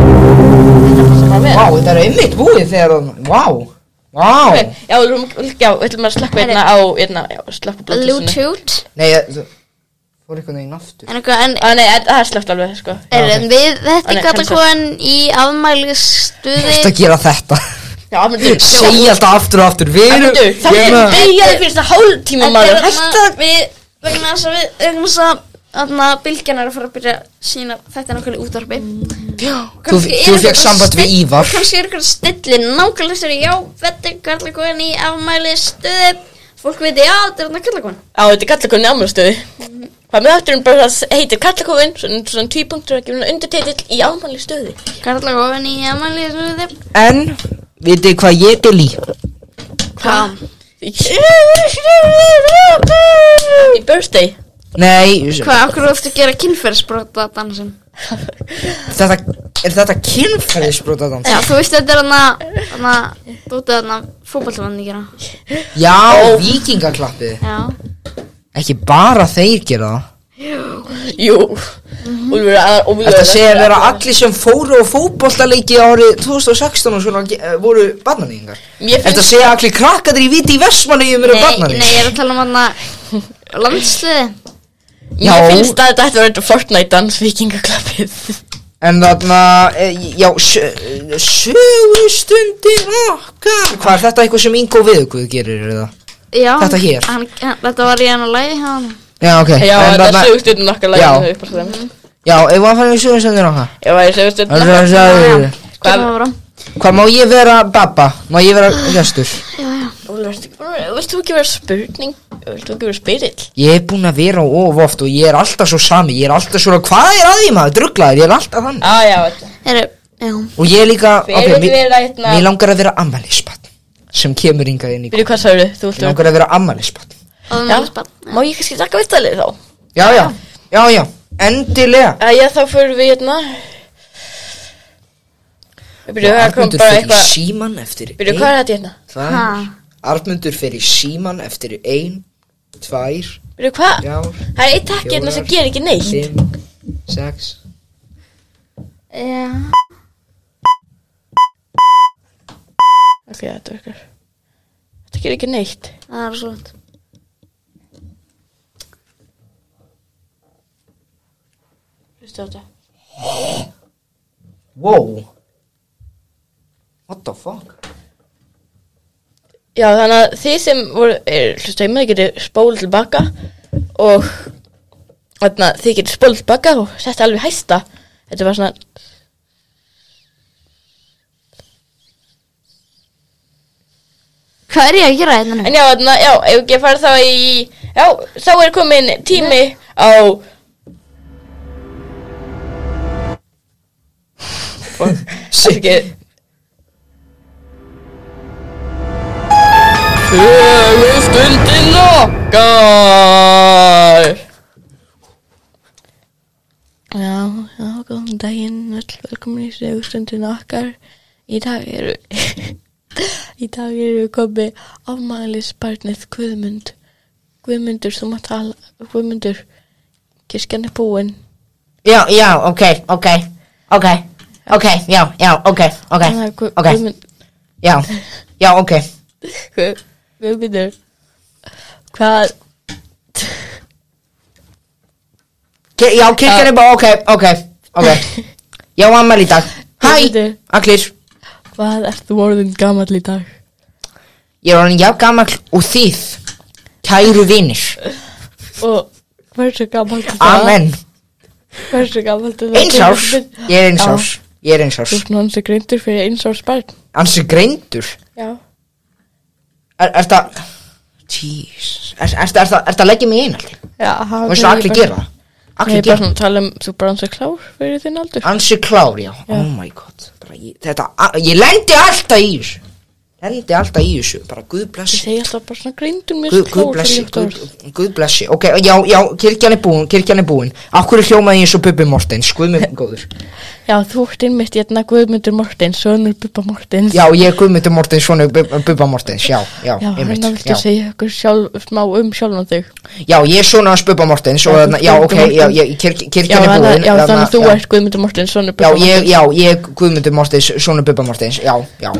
Það var vel.
Vá, þetta er einmitt búið þegar hann Vá Vá
Ok, Já, við erum- já, við ætlum að slakka hérna á hérna, já, slakka blóðtísinu
Bluetooth.
Nei, ég- þú- fór einhvern veginn aftur
En eitthvað, en...
Nei, það er slögt alveg, sko
Er, en við, þetta
Ó,
er
nei,
gata
kallar.
komin í
Þetta
afmælisstuði
að gera þetta
Já, Arnmundur,
Segja alltaf aftur og aftur Við erum
Arnmundur, þá
Ég hérna-
er
meina-
beigjaði fyrir þetta hálftíma maður
Hætt
Hætta
að við, vegna þess að við, vegna þess að Þannig að bylgjan er að fara að byrja að sína þetta nákvæmlega í útvarpi
Þú,
Kannski er
þú
eitthvað
fekk samband við
still-
Ívar
Kannski er eitthvað stilli nákvæmlega sér Já, þetta er gata komin í afmælisstuði Fólk veit, já, þetta er hann að kalla komin
Á, þetta er kallakofin í afmælistöðu Hvað með afturinn bara það heitir kallakofin Svona, svona tvípunktur að gefa undirtitill í afmælistöðu
Kalla komin í afmælisstuði
En Vitið hvað ég til í
Hvað?
Happy birthday
Nei
Hvað, okkur ofta að gera kynferðsbrota dansin?
Þetta Er þetta kynferðisbrota dans?
Já, þú veist þetta er hann að, hann að, þú veist þetta hann að fótballtvann gera
Já, vikingaklappið
Já
Ekki bara þeir gera það
Jú Úlfur, að- Úlfur
Mhm. Þetta segja vera allir sem fóru á fótbollaleiki árið 2016 og svona eh, voru barnaníðingar
Mér finnst-
Þetta segja allir krakkaður í viti í Vestmannegjum eru
Nei, nei, ég
barnaníðingar
er að tala um hann að landsliði
Mér
Já.
finnst að þetta ætti að vera þetta Fortnite dans vikingaklappið
En þarna, eh, já, sögustundir okkar Hvað er þetta eitthvað sem Ingo Viðguð gerir eða?
Já,
Þetta hér.
hann, hann, Þetta var í hann að lægi hann
Já, ok
Já,
en
þetta um
þarna-
er sögustundin okkar
Já.
lægum Já,
Já, ef hann fann við sögustundir okkar
það er sögustundin
Það er
okkar
það
Hvað-
Hvað var hann?
Hvað má ég vera babba? Má ég vera gestur?
Úlfur, ertu ekki búin að- vilt þú ekki vera spurning? Vilt þú ekki vera spyrill?
Ég er búinn að vera of oft og ég er alltaf svo sami Ég er alltaf svona, hvað er að því maður? Druglaður, ég er alltaf þannig
Á, já, þetta
Eru, já
Og ég er líka,
Hver vill
mér-
vera hérna-
mér langar að vera ammælisbarn sem kemur yngar inn í
Byrju, hvað sagðu? Þú
Mér
viltu
langar að vera ammælisbarn
Það var
Já,
spann
má ég kannski taka viðtalið þá?
Já, já, já, já, endilega
Æja, þá fyrir við hérna Byrju, það kom
Arnmundur
bara
fer í
eitthvað
síman eftir
Byrju,
ein-
hvað er þetta hérna?
tvær.
Ha.
Arnmundur fer í síman eftir ein
tvær,
Veitu hvað?
þrjár,
Það er eitt takk hérna sem gerir ekki neitt.
fimm, sex
Já.
Ok, þetta virkar. Þetta gerir ekki neitt.
Það er svolít.
Hlustu á þetta.
Wow What the fuck
Já, þannig að þið sem voru, er, hlustu heima, þið getur spólið tilbaka og þannig að þið getur spólið tilbaka og sett alveg hæsta. Þetta var svona,
Hvað er ég að gera hérna nú?
en já, þannig að, já, ef ekki farið þá í, já, þá er komin tími á
Shit
ekki, Högustundin okkar Já, já, góðan daginn öll velkomin í sögustundin okkar Í dag eru Í dag eru komið afmælisbarnið Guðmund Guðmundur, þú mátt tala Guðmundur, kirkjan er búin
Já, já, ok, ok, ok, ok, já, já, ok, ok,
Þannig að Guð-
ok,
Guðmund,
já, já, ok.
Guð- Guðmundur Hvað
Ki- Já, kirkjan er bara, ok, ok, ok. Já, ammæli í dag. Hæ,
Guðmundur,
allir,
Hvað ert þú orðin gamall í dag?
ég er orðin jafn gamall og þið, kæru vinir,
Og hversu gamall er það?
amen,
Hversu gamall er það?
eins árs, ég er eins árs, ég er eins
Þú
árs.
ert nú hans að grindur fyrir eins árs barn.
Ansi greindur,
Já.
er er það, jeez, er er það, er það, er það að leggja mig inn allir?
Já, hann
Og eins og allir gera, það.
Ég
allir
er bara
gera.
svona að tala um, þú bara hans að klár fyrir þinn aldur.
Ansi klár, já, oh my god bara, ég, Þetta, a- ég lendi alltaf í þessu Lendi alltaf í þessu Bara guð
Ég
blessi
segi alltaf bara svona grindur mér
Guð, guð blessi, guð, guð blessi Ok, já, já, kirkjan er búin, kirkjan er búin Akkur er hljómaði eins og Bubbi Mortens Guð minn góður
Já, þú ert einmitt hérna Guðmundur Mortens, sonur Bubba Mortens.
Já, ég er Guðmundur Mortens, svona Bubba Mortens Já, já,
Já,
einmitt
hérna viltu
já.
segja okkur sjálf, smá um sjálfan þig.
já, ég er svona hans Bubba Mortens og,
Já,
þarna- hérna, Já,
Bubbi
ok, já,
Morthens.
ég, kirk,
Já,
kirkjan er
þannig
búin
að- já,
þarna-
þannig að þú
já.
ert Guðmundur Mortens, sonur
Já,
Bubba
ég,
Mortens.
já, ég er Guðmundur Mortens, svona Bubba Mortens, já, já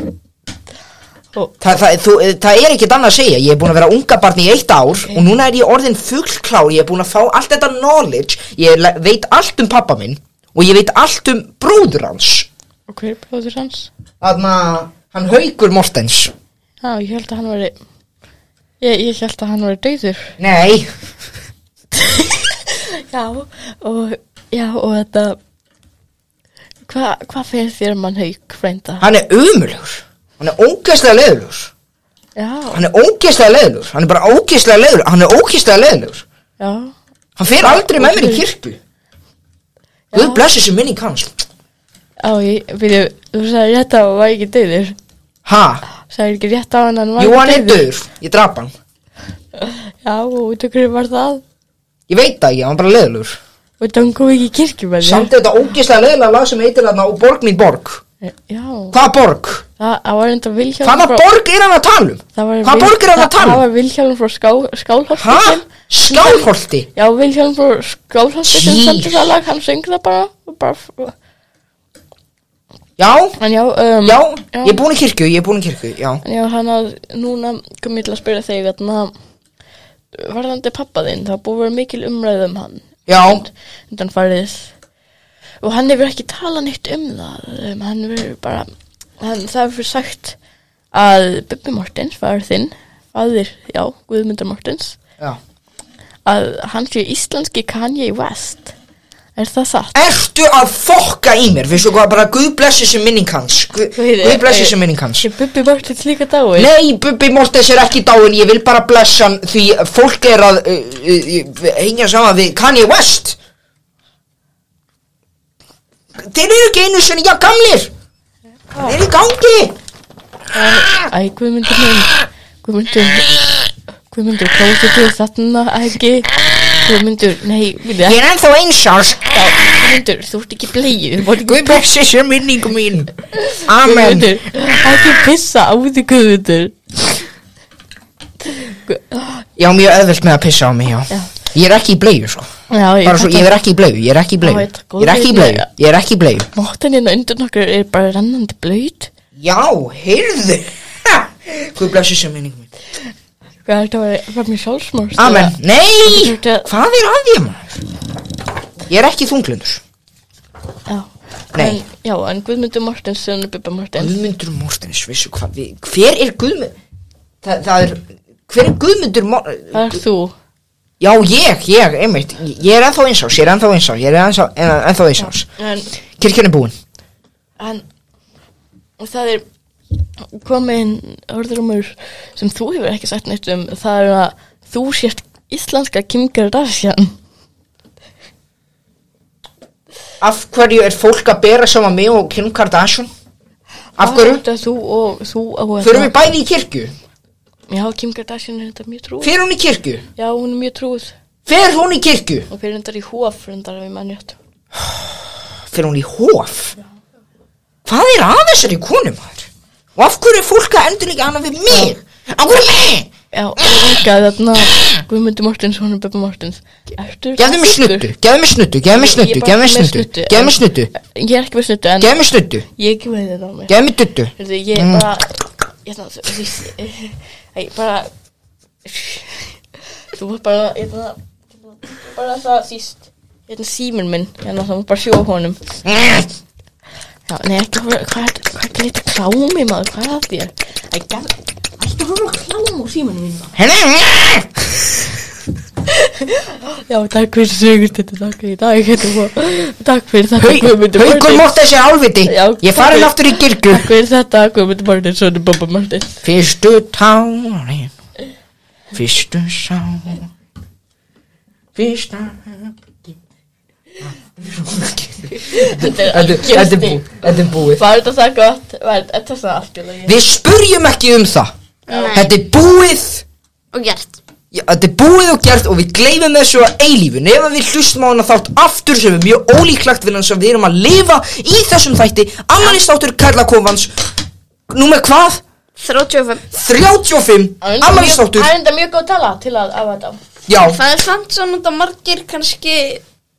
Ó.
Þa, það, þú, eh, það er ekkert annað að segja, ég er búin að vera unga barn í eitt ár og núna er ég orðin fullklár, ég er búin að fá allt þetta knowledge, ég le- veit allt um pappa minn og ég veit allt um bróður hans.
Og hver er bróður hans?
Þannig að hann haugur Mortens.
Já, ég held að hann veri Ég, ég held að hann veri döður
Nei,
Já Og, já, og þetta Hvað hva fyrir þér mann haug frænda?
hann er umulugur, hann er ógeðslega leðulugur,
Já,
hann er ógeðslega leðulugur, hann er bara ógeðslega leðulugur, hann er ógeðslega leðulugur.
já
Hann fer aldrei með mér í kirkju. Guð
Já.
blessi sem minning hans.
Já, ég, við, þú sagði rétt á að hann var ekki döður
Ha,
Sagði ekki rétt á hann að hann var
jú hann er
ekki dauður?
döður, ég drap hann.
Já, og út okkur var það
Ég veit það ekki, hann er bara leðulugur.
Og þetta hann kom ekki í kirkju með þér
Samt er þetta ógeðslega leðilega lag sem heitir þarna og borg mín borg
Eh, Já,
Hvaða borg?
það, það var enda Vilhjálm
Hvaða
frá-
borg er hann að tala um?
það var
hvaða
Vil-
borg er hann að
það-
tala um?
Það var Vilhjálm frá ská, skálholt
Hæ? Skálholti?
Já, Vilhjálm frá Skálholti sem
Jeez.
sendi það lag, hann söng það bara, bara
Já,
En já, um,
já,
já.
ég er búin í kirkju, ég er búin í kirkju, já
En já, hann að núna kom ég til að spyrja þig Þannig varðandi pappa þinn Það búið að vera mikil umræð um hann
Já,
Undan farið Og hann hefur ekki talað neitt um það um, Hann hefur bara hann, Það hefur sagt að Bubbi Mortens, faður þinn Faðir, já, Guðmundur Mortens
já
Að hann sé íslenski Kanye West Er það satt?
Ertu að fokka í mér, veistu hvað, bara Guð blessi sem minning hans Guð, Guð eh, blessi sem minning hans
Er Bubbi Mortens líka dáið?
Nei, Bubbi Mortens er ekki dáin, ég vil bara blessa hann því fólk er að uh, uh, uh, hengja saman við Kanye West Þeir eru ekki einu sinni, já gamlir Þeir eru í gangi
Æ, Guðmundur minn Guðmundur Guðmundur, klóðu til þarna ekki Guðmundur, nei, við
Ég
það
er ennþá eins árs
Guðmundur, þú ert ekki bleið Þú ert
Guð
ekki
blessi sér minningu mín Amen
Guðmundur, ekki pissa á því Guðmundur Gu-
Ég á mjög öðvöld með að pissa á mig, já.
Já.
Ég er ekki í bleiðu, sko.
Já, ég
Bara svo,
fatta.
ég er ekki í bleiðu, ég er ekki í
Já,
bleiðu.
ég takk,
Ég er ekki í
góð
bleiðu, ég er ekki í bleiðu.
Móttan hérna undan okkur er bara rennandi blöyt.
Já, heyrðu. Hvað blessu sem minning mín.
Hvað er þetta að vera- vera mér sjálfsmórst?
Amen. Nei,
Þetta er-
hvað er að ég maður? Ég er ekki þunglundur.
Já.
Nei.
En, já, en Guðmundur Mortens, Sjónu Bubba Mortens.
Guðmundur Mortens, vissu hvað, við- hver er Guðmundur? Þa, það er, hver er Guðmundur Mortens?
Það er þú.
Já, ég, ég, einmitt. Ég er ennþá einsás, ég er ennþá einsás, ég er ennþá, ennþá einsás.
En,
Kirkjan er búin.
en, það er komin orðrumur sem þú hefur ekki sagt neitt um. Það er að þú sért íslenska Kim Kardashian.
Af hverju er fólk að bera saman mig og Kim Kardashian? Af hverju?
Þetta er þú og þú á að...
Förum við bæði í kirkju?
Já, Kim Kardashian er þetta mjög trúið.
Fer hún í kirkju?
Já, hún er mjög trúið.
Fer hún í kirkju?
Og fyrir endar í hóf, endar við mannjöttu.
Fer hún í hóf? Hvað er að þessari konu maður? Og af hverju er fólk að endur líka annað við mig? Af hverju mig?
Já, og líka þarna Guðmundur Mortens, hún er Bubba Mortens Ertu
Gefðu mér snuttu, gefðu mér snuttu, gefðu mér snuttu, gefðu mér snuttu, gefðu mér snuttu,
Ég er ekki með snuttu, en
gefðu mér snuttu,
ég er ekki með þetta á mig
gefðu mér duttu.
Hérðu, ég
Mm.
er bara Ég þarna, þú veist Æ, bara Þú var bara, ég þarna Bara það síst Hérna síminn minn, hérna það var bara sjó á honum Já, nei, ekki, hvað, hvað, hvað gerir þetta klámi maður, hvað er að þér? Æ, gæl, ætti hún að kláma úr síminn minn maður
Hérna,
Já, takk fyrir sögust þetta, takk fyrir í dag, þetta var, takk fyrir þetta, Guðmundur
Haukur
Martins.
mótt þessi álviti,
Já,
ég farin aftur í kirkju.
Takk fyrir þetta, Guðmundur Martins, svona Bobba Martins.
Fyrstu tárin Fyrstu sárin Fyrsta
Þetta er
Þetta
algjör
þetta er
stig.
búið Þetta er búið
Var þetta það gott? Var þetta það algjörlega? ég-
Við spurjum ekki um það
Nei,
Þetta er búið
og gert
Já, Þetta er búið og gert og við gleymum þessu að eilífu Nefn að við hlustum á hana þátt aftur sem er mjög ólíklagt við hans að við erum að lifa í þessum þætti Annanis þáttur Karla Kofans Númer hvað?
35
35
Það er enda
Annanis
mjög-
þáttur
Það er enda mjög góð tala til að af þetta.
Já,
Það er samt svona þetta margir kannski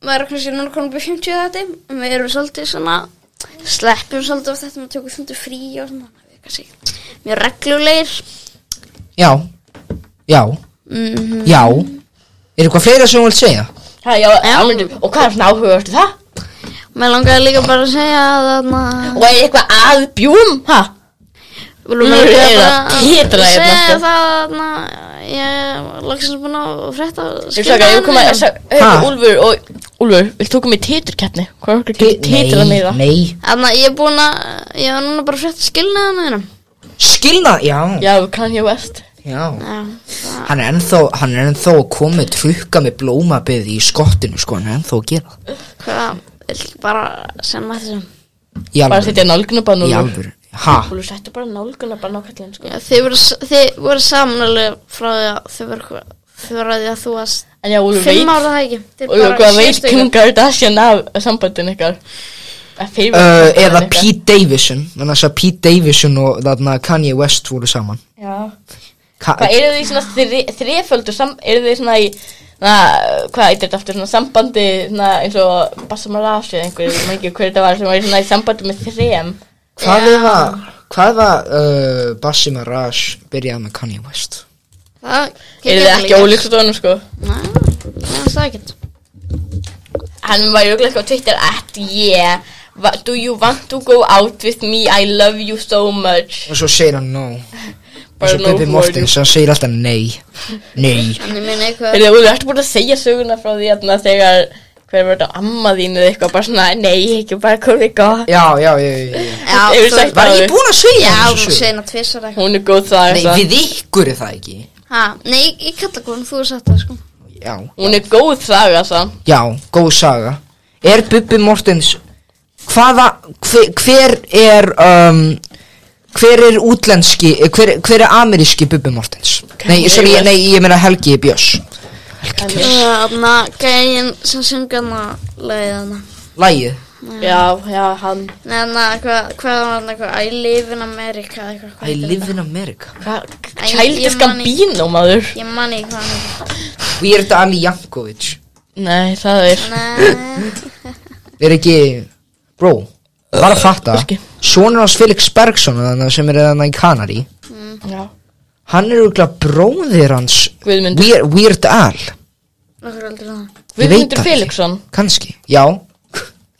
maður er kannski núna konum byrjum 50 þetta en við erum svolítið svona sleppum svolítið á þetta maður tökum fundu frí og svona við erum kannski mjög reglulegir
já, já,
Mhm.
já Er eitthvað fleira sem þú vilt segja?
Ha, já, ámyndu, og hvað er svona áhugavert við það?
Mér langaði líka bara að segja að þarna
Og er eitthvað að bjúum, ha?
Við viljum
Nú
bara
er það
gera bara-
titraði hérna,
segja
sko.
það þarna ég var lagsins búin að frétta
Ísaka, ég vil koma að segja,
Ha?
hey, Úlfur og, Úlfur, vil þú koma í titurkeppni? Hvað er okkur getur titrað meira?
nei
Þannig að ég er búin að ég var núna bara að frétta skilnaðan þeirra
Skilna, já, já,
Já, Kanye West.
Já, það-
Hann er ennþá, hann er ennþá að koma með trukka með blómabeði í skottinu sko, hann er ennþá að gera það.
hvað vill bara sem að þessum
Í
Bara
alvöru,
setja nálgunabann,
í
Úlfur.
alvöru Ha,
Úlfur, settu bara nálgunabann á kallin, sko.
Já, þið voru, þið voru saman alveg frá því að þið voru, þið voru að því að þú varst
En já, Úlfur, veit
fimm ára það ekki. Þið
Og hvað veit
sést
Kim
ykkur.
Kardashian af sambandin ykkar? Að
uh,
fyrir sambandinu
eða
ykkar?
Pete Davidson Þannig að Pete Davidson og þarna Kanye West voru saman
Já
Ka
Hvað eru þið í svona þri, þreföldu sam, eru þið svona í na, hvað eitthvað þetta aftur svona sambandi svona eins og Bassam Arashi eða einhver, ég veit ekki hver þetta var sem var í svona í sambandi með þrem
Hvað er það, hvað var uh, Bassi Mirage byrjað með Kanye West?
Það
eru þið ekki ólíkt á honum sko
Nei, mér finnst það ekkert.
hann var jökulega sko á Twitter at yeah wa- do you want to go out with me I love you so much
Og svo segir hann no Og
Bara
svo Bubi
no
Mortens, hann segir alltaf nei Nei
En ég meina eitthvað,
Þegar þú ert búin að segja söguna frá því að þegar hver var þetta amma þín eða eitthvað bara svona nei, ekki bara komið gott
Já, já, já, já, já.
já,
Hefur
þú-
sagt-
Var ég búin að segja
já,
þessa
þú
sögu?
segir það tvisar eitthvað.
hún er góð það
Nei,
er það
við ykkur er það ekki
Ha, nei, ég- ég kalla hún, þú er satt það sko.
Já,
hún er góð það er það
já, góð saga Er Bubbi Mortens Hvaða, hver, hver er um, Hver er útlenski eh, Hver, hver er ameríski Bubbi Mortens Nei, sorry,
West.
nei, ég meina Helgi Björns
Þannig að gæinn sem syngur hana, leiði hana.
Lægið
Mm.
Já, já, hann
Nei, en að hvað, hvað var hann eitthvað, I live in America eða eitthvað, hvað
I
heitir
live in America
Hvað-
Æ,
Childish
ég man í-
Gambino, maður
þetta? Ég man ekki hvað hann heitir.
Og ég er þetta Ali Jankovic
Nei, það er
Nei,
Er ekki, bro Bara að fatta
Ekki.
Sonur hans Felix Bergson þarna sem er þarna í Kanari
Mm.
Já
Hann er auðvitað bróðir hans
Guðmund.
Weir- Weird Al
okkur aldrei það.
Ég veit það
Guðmundur
ekki.
Felixson
Kanski, já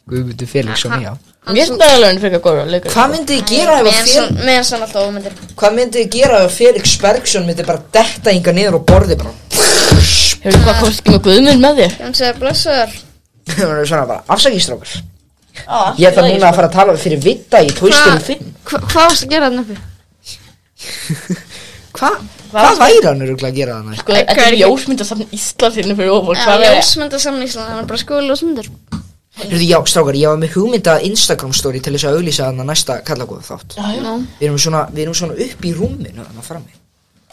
Guðmundur Felixson, já
Mér finnst það alveg hann fyrir góður að leika
Hvað myndi þið gera ef að
Mér
Fel-
sann, mér sann alltaf ómyndir.
Hvað myndi þið gera ef að Felix Bergson myndi bara detta yngar niður og borði bara
Hefur þú hvað komst ekki með Guðmund með þér?
Ég myndi segja, blessaður.
Það er svona bara afsakistrókur
Já,
Ég ætla núna að fara að tala fyrir vita í tóistum
Hvað-
fimm
hva- Hvað varst að gera hann uppi?
Hvað? Hvað væri hann örugglega að gera þannig?
Sko, þetta er ljósmyndasafn Íslands hérna fyrir ofur
Já,
Hvað er
ljósmynda saman Ísland, hann er bara skoði ljósmyndur.
Hörðu, já, strákar, ég var með hugmynda Instagram story til þess að auglýsa þannig næsta kallagóða þátt
Já, já.
Nú,
Við erum svona, við erum svona upp í rúminu þannig frammi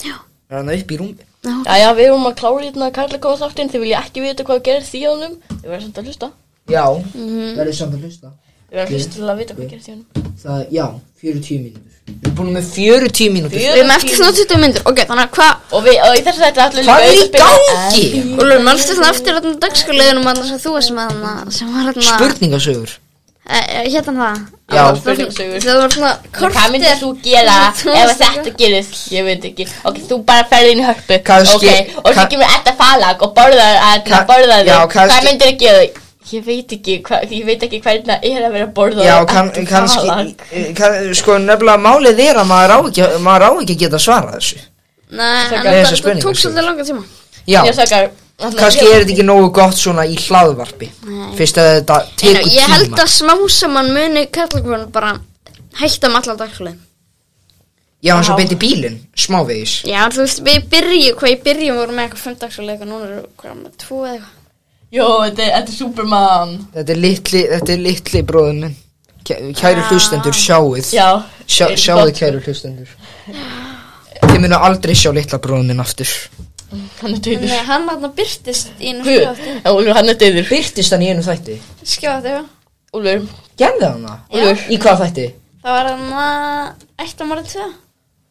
Já.
Við erum upp í rúminu
Já, já, við erum að klára hérna Karla góða þáttinn Þið vilja ekki vita hvað gerist í honum Þið verður samt að hlusta
Já,
Mhm.
verður samt að hlusta
Þið verður að hlusta til að vita hvað gerist í honum
Það, já, 40 mínútur Við erum búin með 40 mínútur
við erum eftir svona 20 myndir, ok, þannig að hvað,
Og við, og í þess að þetta allir
Hvað er í gangi?
Úlfur, mannstu svona eftir hérna þarna dagskóliðinum að sem þú varst með hann, sem var hann að,
Spurningasögur
hérna það,
Já.
Það var-
Spurningasögur.
það var svona
Hvað myndir
kortir,
þú gera
Þú
ef
veist
þetta gerist? Ég veit ekki Ok, þú bara ferði inn í hörpu
Kannski-
Ok, og svo
kann-
kemur þetta falag og borðar að
Kann-
borða
já,
þig Hvað
kannski-
myndir þú gera? Ég veit ekki, hva, ég veit ekki hvernig það er að vera borðað
Já,
af
kann,
Eddu
kannski,
falag.
kann, sko nefnilega málið er að maður á ekki, maður á ekki að geta svarað þessu
nei, en
Þessar
það- það
spurningar, sko.
tók svolítið langa tíma,
Já,
Ég sakar
kannski er þetta ekki nógu gott svona í hlaðvarpi
Nei.
Fyrst að þetta
Einu,
tekur tíma
ég held að smá saman muni kallakvörn bara hætta um allan dagskólið,
Já, eins og
Já.
beint í bílinn, smávegis
já, en þú veist, við byrjum, hvað ég byrjum vorum með eitthvað 5 dagskólið, eitthvað, núna eru hvað með 2 eða eitthvað,
Jó, þetta er- þetta er Superman
Þetta er litli, þetta er litli bróður minn Kæ- Kæru hlustendur, sjáuð
Já
Sjá,
er
Sjáuð
gott.
kæru hlustendur Þið munu aldrei sjá litla bróður minn aftur
Hann er döður
Nei, hann hann byrtist í einu skjátti,
Úlfur, hann er döður
Byrtist hann í einu þætti?
skjátti, já,
Úlfur,
Gerði hann það?
Úlfur,
Í hvað þætti?
það var hann að, eitt á morgun 2,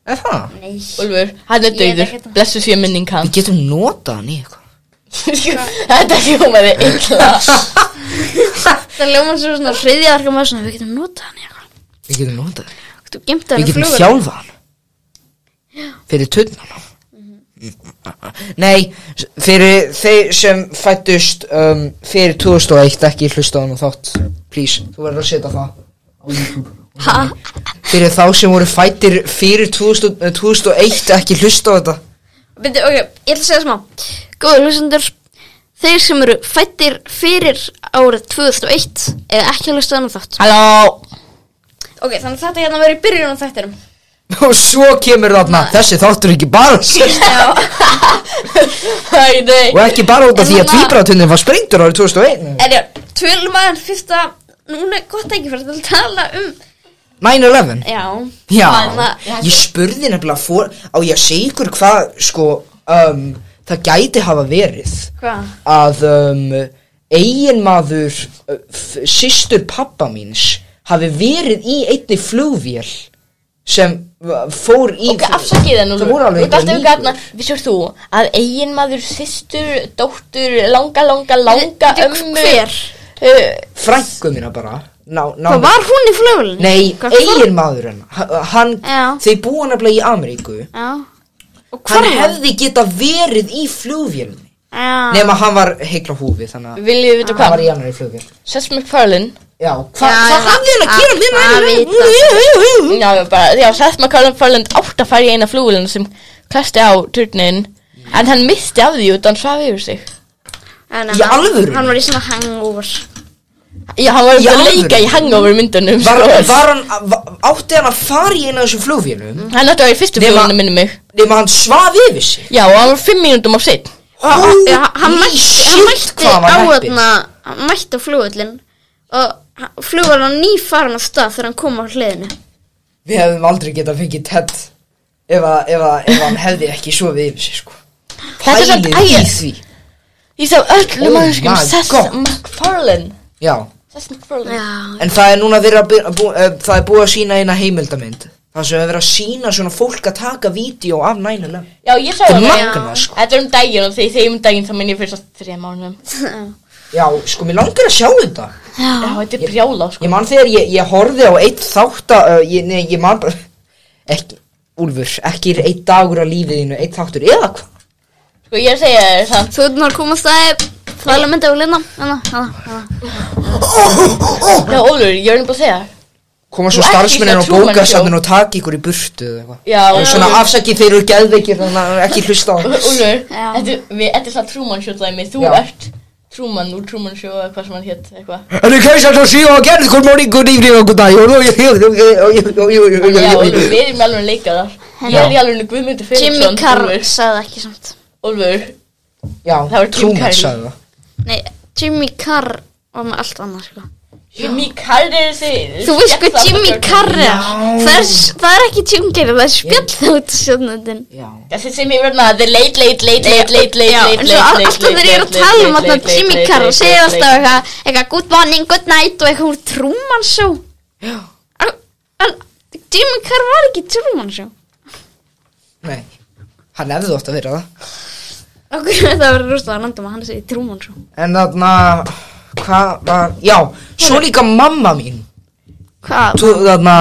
Er það?
nei,
Úlfur, hann er
Ég veit
döður
ekkert um-
Blessu sé minning hann
Við getum notað hann í eitthvað
Sko, Þetta hljómaði illa
Það ljóma svo svona hriðjarka maður svona, við getum notað hann í eitthvað.
Við getum notað hann
Þú gemt hann
Við
í
getum
flugur.
þjálfa hann Fyrir tunnana Nei, s- fyrir þeir sem fættust um, fyrir 2001 ekki hlusta á hann og þátt Please, þú verður að setja það
Ha?
Fyrir þá sem voru fættir fyrir 2000, eh, 2001 ekki hlusta á þetta
Bindi, ok, ég ætla að segja smá. Góður hlustendur, þeir sem eru fættir fyrir árið 2001 eða ekki að hlusta hann á þátt.
Halló
Ok, þannig að þetta hérna verið í byrjun á þættinum.
Og svo kemur þarna, þessi þáttur er ekki bara sérst
Æ, nei
Og ekki bara út af því að
En núna-
tvíbratunin var sprengtur árið 2001
En já, tölum aðeins fyrst að núna er gott ekki fyrir að tala um,
9-11
já, Hérna,
Já,
Þannig að-
ég spurði nefnilega fór, á ég að segja ykkur hvað sko, um, það gæti hafa verið
hvað?
að um, eiginmaður uh, f- systur pappa míns hafi verið í einni flugvél sem uh, fór í
Ok, afsakið það nú
Það voru alveg
Þú dæst
einhverjar
um gatna
líkur.
Vissur þú að eigin maður, systur, dóttur, langa, langa, langa
Bíddu,
ömmu
Hver?
Uh,
frængu mína bara ná, ná,
Hvað var hún í flugulunni?
Nei,
Hvað fór-
eiginmaður hennar hann,
Já.
þau búa nefnilega í Ameríku
Já. Og
hann
hvað hefði?
hefði geta verið í flugvélni
Já.
nema hann var heikla húfi þannig að
Viljið við vita
hann var
hvað?
í annari flugvél
Sess MacFarlane
Já,
Já,
hvað hva
já,
hafði hann að gera
að-
með
að vita.
mæri?
Já, já, bara, já, Seth MacFarlane átt að fara í eina flugulina sem klesti á turnin En hann misti af því út, hann svaf yfir sig
En,
Í alvöru?
Hann var í svona hangover.
Já, hann var
Í
að
alvöru?
leika í hangover myndunum
Var,
sko.
var hann, va- átti hann að fara í eina af þessum flugvélum
Hann átti að vera í fyrstu
Nema-
flugulina minni mig
nema hann svaf yfir sig
Já, og hann var fimm mínútum á sitt
Já, hann
Holy
mætti,
shit,
hann mætti
hvað hann var
á hérna-
heppinn.
þarna, hann mætti á flugullin og flugur hann ný farin af stað þegar hann kom á hliðinu.
Við hefðum aldrei getað fengið Ted ef, að, ef, að, ef hann hefði ekki sofið yfir sig sko
Þetta er samt
Pælið í
ægir.
því
Ég sá um öllu
Oh
mannskjum
my
Seth
God.
MacFarlane
Já,
Investment Brothers.
Já,
En það er núna verið að byrja, bú, uh, það er búið að sína eina heimildamynd Það sem er verið að sína svona fólk að taka vídeo af 9-11
Já, ég sá
Þetta er
hana.
magnað, sko.
Þetta er um daginn og þegar ég segi um daginn þá minn ég fyrir svo þrjá mánuðum.
Já, sko, mér langar að sjá þetta
Já, þetta er brjála, sko.
Ég man þegar ég, ég horfði á eitt þátt að, uh, ég, Nei, ég man bara Ekki, Úlfur, ekki er eitt dagur af lífiðinu, eitt þáttur Eða hvað?
Sko, ég segja þér samt.
þú veitum að koma að staði Það er myndið á Hérna, linna Hana, hana, hana
Já, Ólur, ég er nefnilega að segja.
Koma svo
Þú ert í
starfsmennin
svona
á
Truman
bókasamnin og taki ykkur í burtu eða eitthvað
Já,
Og
Úlfur,
svona afsakið þeir eru geðveikir þannig að ekki hlusta á það.
Úlfur,
Já.
þetta er- við- þetta er það Truman Show dæmi. Þú
Já.
ert Truman úr Truman Show eða hvað sem hann hétt, eitthvað.
En ég kæs að það síðan að gerði hvern morning, hvern yfir og hvern dag
Já,
Já,
Ólfur, við erum alveg að leika þar. Ég er í alveg Guðmundur
Jimmy
Felixson,
Carr
Úlfur.
sagði ekki samt
Ólfur,
Já,
Það var Jim
Truman
Carrey.
sagði það
Nei, Jimmy Carr var með allt annað sko.
Jimmy Carr er þessi.
Þú veist hvað Jimmy Carr er
Já.
það er, s- það er ekki Jim Carrey, það er spjallþátt sjónundin
Já,
Þessi sem hefur hérna, the late, late, late, late, late, late,
Já,
late,
en
late,
svo all-
late,
alltaf þegar ég er að
late,
tala um
late,
að
late, late,
Jimmy
late,
Carr og
late, late,
segja alltaf
late.
eitthvað eitthvað good morning, good night og eitthvað úr Truman Show En- En Jimmy Carr var ekki í Truman Show
nei Hann hefði þótt að vera það
Okkur það var rúst að randum að hann segi Truman Show
En þarna, hvað var Já, svo líka mamma mín
Hvað?
tú- Þarna,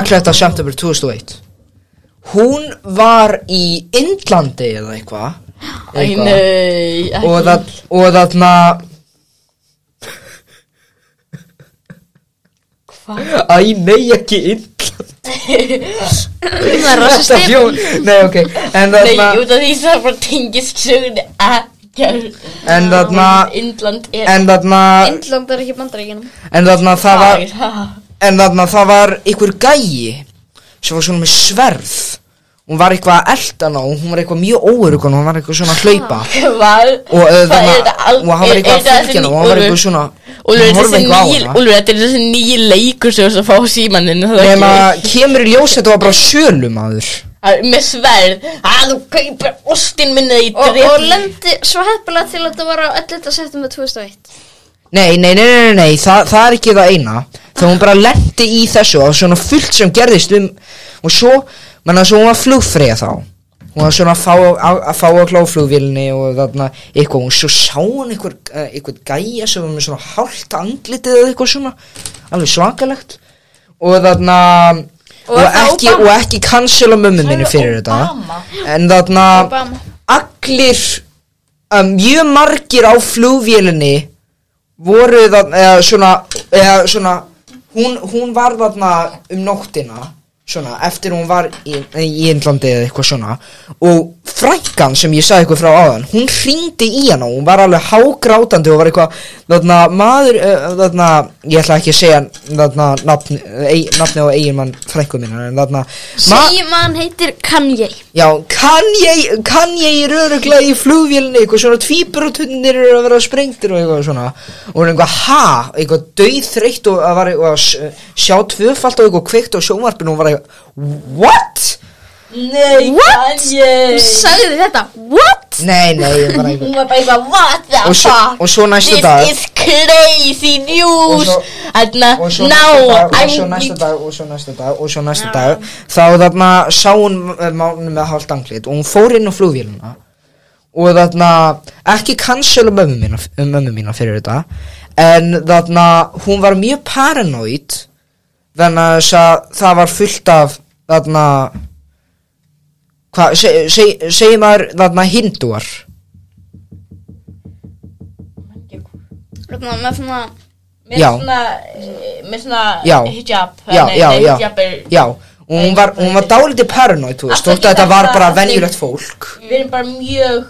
ekki þetta september 2001 Hún var í Indlandi eða eitthvað
Æ,
eitthvað.
nei,
og,
ekki.
það, og þarna Æ, nei, ekki Indland
Það er
Þetta
rosa stefn
fjón Nei, ok En
Nei,
þarna
út af því það bara tengist sögunni ekkert.
En þarna
Indland er
En þarna
Indland er ekki bandaríkinum
En þarna það var
Æ, ha.
En þarna það var einhver gæi sem var svona með sverð hún var eitthvað að elda hana og hún var eitthvað mjög óurugun og hún var eitthvað svona að hlaupa
Hvað?
og, uh,
Hvað
þarna,
er þetta al-
og hann var
er-
eitthvað
er
að
þetta
fylgja hana
þessi
og hann var
ný-
eitthvað svona hún
Úlfur, Úlfur,
horfði
þessi
eitthvað á
nýji-
hana
Úlfur, þetta er þessi nýji leikur sem þú ert að fá á símaninn það er
nema
ekki-
kemur í ljós þetta var bara sölumadur
Það er Með sverð að þú kaupir ostin minni í
og,
drep-
og lendi svo heppilega til að þetta var á 11. september 2001
Nei, nei, nei, nei, nei, nei það, það er ekki það eina Þegar hún bara lendi í þessu og svona fullt sem gerðist um Og svo, menna, svo hún var flugfreyja þá Hún var svona að fá á- að, fá á kláflugvélni og þarna eitthvað Og svo sá hún einhver, eh, einhver gæja sem var með svona hálft andlitið eða eitthvað svona Alveg svakalegt Og þarna
Og
Og,
það
ekki,
Obama.
og ekki cancela mömmu minni fyrir
Obama.
þetta En þarna
Obama.
Allir um, Mjög margir á flugvélinni voru þarna eða svona, eða svona hún, hún var þarna um nóttina svona eftir hún var í, í Indlandi eða eitthvað svona og frænkan sem ég sagði eitthvað frá áðan hún hringdi í hana og hún var alveg hágrátandi og var eitthvað þarna maður uh, þarna ég ætla ekki að segja þarna nafni, e, nafni á eiginmann frænku minna en þarna ma-
segjum að hann heitir Kanye
Já, kann ég, kann ég er öruglega í flugvélni, eitthvað svona tvíbrotunnir eru að vera sprengtir og eitthvað svona og hún er eitthvað ha, eitthvað dauðþreytt og að var eitthvað að s- sjá tvöfalt og eitthvað kveikt á sjónvarpinu og hún var eitthvað What?
Nei,
What?
Kanye.
hún sagði þetta what?
Nei, nei, ég bara eitthvað
Hún var bara eitthvað, what the
Og svo-
fuck
og svo næsta
This
dag-
is crazy news
Og svo-
Þarna,
og svo
now
næsta dag, og
I'm-
svo næsta dag, og svo næsta dag, og svo næsta dag þá þarna sá hún eh, mánu með hálft anglit og hún fór inn á flugvélina og þarna ekki cancela mömmu mína, mömmu mína fyrir þetta en þarna hún um var mjög paranoid þannig að þess að það var fullt af þarna hvað, seg, seg, segir maður þarna hindúar
Þarna, með svona
Með
Já.
svona, eh, með svona
Já.
hijab
já,
Nei,
já,
nei,
já,
hijab er-
já og hún Um var, hún var dálítið paranoid þú veist,
Aftur
þótt að þetta
líka
var
það
bara
að þið-
venjulegt fólk
Við erum bara mjög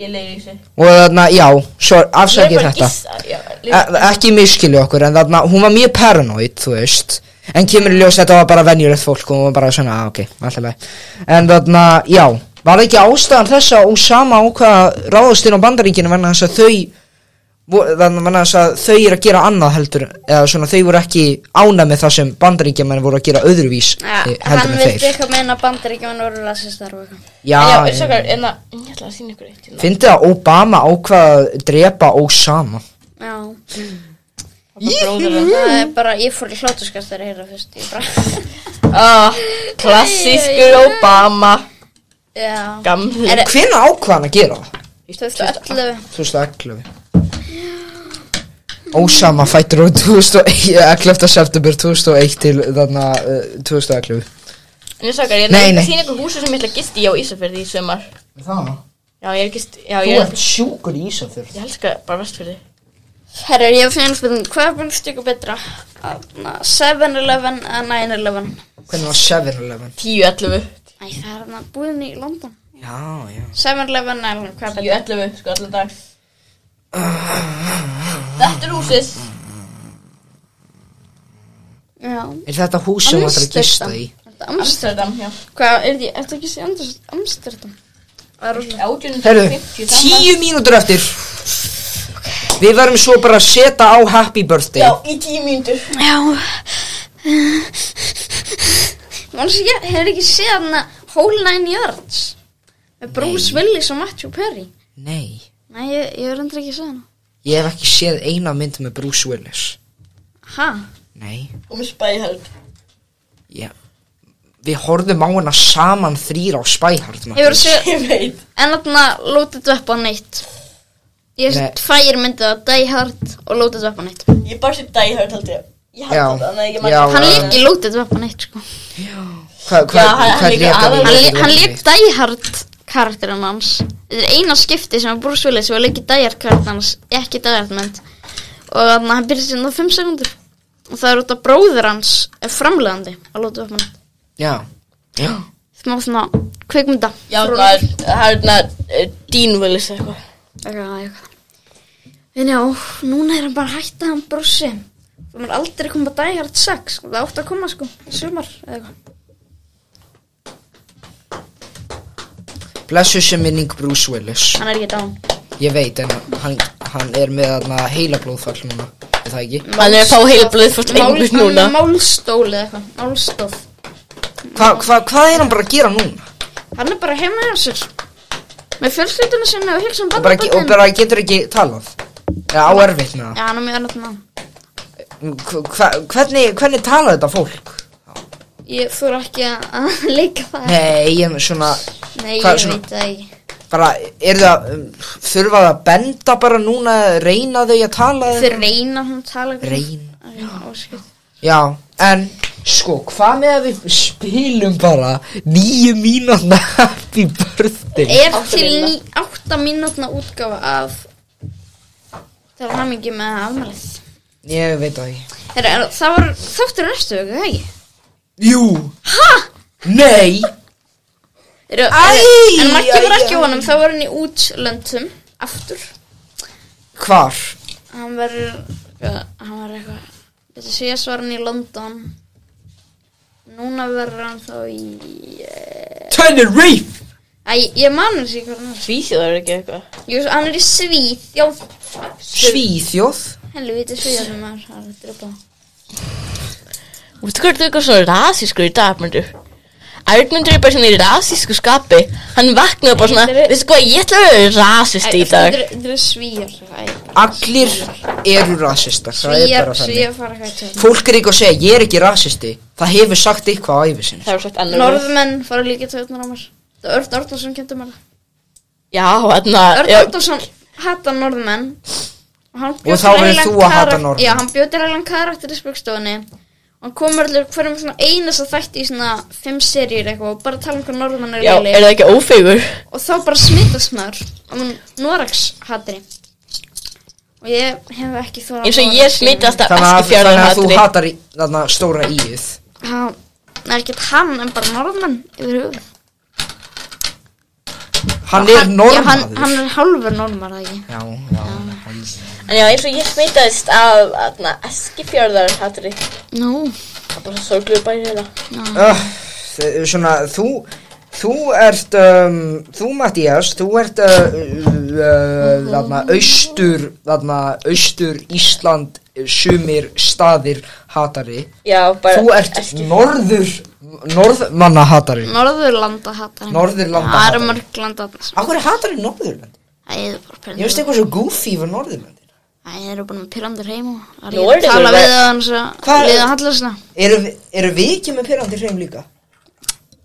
Ég leiði þessu
og þarna, já, svo
Við erum
afsakið
bara
þetta
issa, já,
E-
líka-
ekki miskilja okkur, en þarna, hún var mjög paranoid þú veist, en kemur í ljós að þetta var bara venjulegt fólk og hún var bara svona, ah, ok, alltaf leið en þarna, já, var ekki ástæðan þess að Osama ákvaða ráðast inn á bandaríkinu vegna þess að þau vo- þannig vegna þess að þau eru að gera annað heldur, eða svona þau voru ekki ánæð með það sem bandaríkjamenn voru að gera öðruvís
ja,
eh, heldur
hann
með
vildi
þeir
eitthvað meina bandaríkjumann voru rasistar og eitthvað
Já,
En
já.
Já, sökkar, en að Ég ætla að sína ykkur eitt hérna.
Fyndi að Obama ákvað að drepa Osama
já
bróðurinn.
Það er bara, ég fór í hlátuskast þegar ég heyrði það fyrst, ég bara,
Ah, klassískur Obama,
já.
gamli.
Er
Hvenær ákvað hann að gera það?
Þetta
11,
2011 Ósama fættur úr 2011. september 2001 til þarna uh, 2011
En ég sakar, ég
Nei, nei.
sýn ykkur húsi sem ég ætla að gisti á Ísafjörði í sumar.
Það?
Já, ég er gist, já,
Þú
ég er,
ert sjúkur í Ísafjörð
ég elska bara vestfjörði.
herru, ég hef fyrir spurning, hvað er búin stykku betra? Þarna, 7-Eleven eða 9-Eleven?
Hvernig var 7-Eleven?
10, 11.
Æ, það er hann búin í London.
Já, já
7-Eleven eða 9-Eleven, hvað er
10,
betra?
11, sko, allan dag. Þetta er húsið.
Já.
Er þetta hús sem það er að gista í?
Þetta er
Amsterdam,
Amsterdam.
já.
Hvað, er ég, ertu ekki að segja Amsterdam? Amsterdam? Það er rosalega.
Herru,
1850, það
tíu mínútur eftir Við verðum svo bara að setja á Happy Birthday
Já, í 10 mínútur.
Já. Man sé, hefur ekki séð hann Whole Nine Yards með Bruce Willis og Matthew Perry.
Nei,
Nei, ég, ég er endur ekki að segja hann.
ég hef ekki séð eina mynd með Bruce Willis
Ha?
Nei,
Og með spæðhald.
já Við horfðum á hana saman þrýra á spæhart
Hefur séð,
Ég veit.
en þarna Loaded Weapon 1. Ég
Nei.
hef tvær myndið að Die Hard og Loaded Weapon 1.
Ég bara sé dæhald, held ég. Ég held
Já.
þetta, þannig að ég
Já,
Hann
já,
lék í Loaded Weapon 1, sko.
Hvað,
Já,
hvað,
hann- hann
hvað
leikur
lék hann í
aðal-
Hann,
Loaded
lé- hann
Weapon?
lék Die Hard karakterinn hans. Þetta er eina skipti sem að Bruce Willis var að leika í Die Hard karakterinn hans, ekki Die Hard mynd. Og þannig að hann byrja sérna 5 sekundur. Og það er út af bróður hans er framlegandi að Loaded Weapon 1.
Já, já
Það má svona kveikmynda.
Já, það er- það er hérna Dean Willis eitthvað.
eitthvað, eitthvað. En já, núna er hann bara hættið hann brossi. Það er aldrei komið að Die Hard 6. Það átti að koma sko, í sumar eða eitthvað.
Blessu sem minning Bruce Willis
Hann er ekki dán.
Ég veit, en hann, hann er með þarna heila blóðfall núna Er það ekki?
Hann er að fá heila blóðfall einhvers núna.
Málstóli eða eitthvað, málstóð.
Hva, hva, hvað er hann bara að gera núna?
Hann er bara heima hjá sér. Með fjölskylduna sinni og um hilsum
Og bara, ge- og bara getur ekki talað Eða á erfitt með það
Já, hann er mjög annað ná.
Hva- hva- hvernig, hvernig tala þetta fólk?
Ég þurfa ekki að leika það.
Nei, en svona,
Nei, ég
hvað svona-
veit það ekki.
bara, er það, um, þurfa það að benda bara núna, reyna þau að tala?
Þau reyna hún tala.
Reyna.
Reyna.
Já, en, sko, hvað með að við spilum bara nýju mínúna happy birthday?
er
Átta
til
mínútna.
ný, 8 mínútna útgafa af það var hamingi með afmælið
Ég veit það ekki.
Heru, er, það var þáttur í næstu vöku, hei
Jú. Hæ? Nei.
Heru,
Æ,
en Maggi var
æ,
ekki
æ.
á honum þá var hann í útlöndum aftur
Hvar?
hann var ja, hann var eitthvað þetta síðast var hann í London núna verður hann þá í eh,
Tenerife.
Æ, ég man þessi hvað hann er
Svíþjóð er ekki eitthvað.
Jú, hann er í Svíð, já,
Svíþjóð.
helviti Svíð hann er að drepa
Veistu hvað þú eitthvað svona rasískur í dag, Arnmundur? Arnmundur er bara svona í rasísku skapi. Hann vaknaði bara svona,
Þetta eru-
veistu hvað, ég ætla að vera rasist í dag.
Þetta er svíjar
Allir eru rasistar, það er
Svíjar,
bara þannig.
svíjar fara hérna. hvað til
Fólk er ekki að segja, ég er ekki rasisti. Það hefur sagt eitthvað á æfi sinni.
Það var sagt annar.
Norðmenn fara líka töðnar á mér Það er Örn Ornarsson kendur mér það.
Já, þarna,
Örn
já,
Ornarsson hata norðmenn Og, hann
Og
bjó til
þá verður
heilan
þú að hata
karak-
Norðmenn.
Já, hann bjóti heilan karakter í spöggstofunni Og hann komur allir hverjum svona einasta þætti í svona Fimm serjur eitthvað og bara tala um hvað norðmenn er
já,
lélegir.
er það ekki ófegur?
og þá bara smittast maður á mun Norax hatri og ég hef ekki þóra
Eins og ég smitast af
Þannig að, þannig að þú
eskifjörðarhatri.
hatar í, þarna stóra íð
það er ekkert hann en bara norðmenn yfir hugum
Hann er normaður
já, hann, hann er hálfur normal ekki
Já, já, hann-
En já, eins og ég smitaðist af þarna, eskifjörðarhatri.
nú,
Það er bara sorgluðu bæri hérna.
Öh, þe- Svona, þú Þú ert, um, þú Mattías Þú ert uh, uh, uh, Þarna, austur Þarna, austur Ísland Sumir staðir hatari
Já, bara
Þú ert norður Norðmanna hatari
norðurlanda hatari
Norðurlanda
það
hatari.
eru mörg landa þarna sem-
Akkur er hatari norðurland
Æ, það er bara
Ég veist
pyrrandi
eitthvað svo goofy var norðurland
Æ, Æ, þeir eru búin að pyrra um þér heim og að
Nú
ég
er þetta
tala
bara-
við hann svo
Hvað-
við að halla svona
Eru, vi- eru við ekki með pirrandi hreim líka?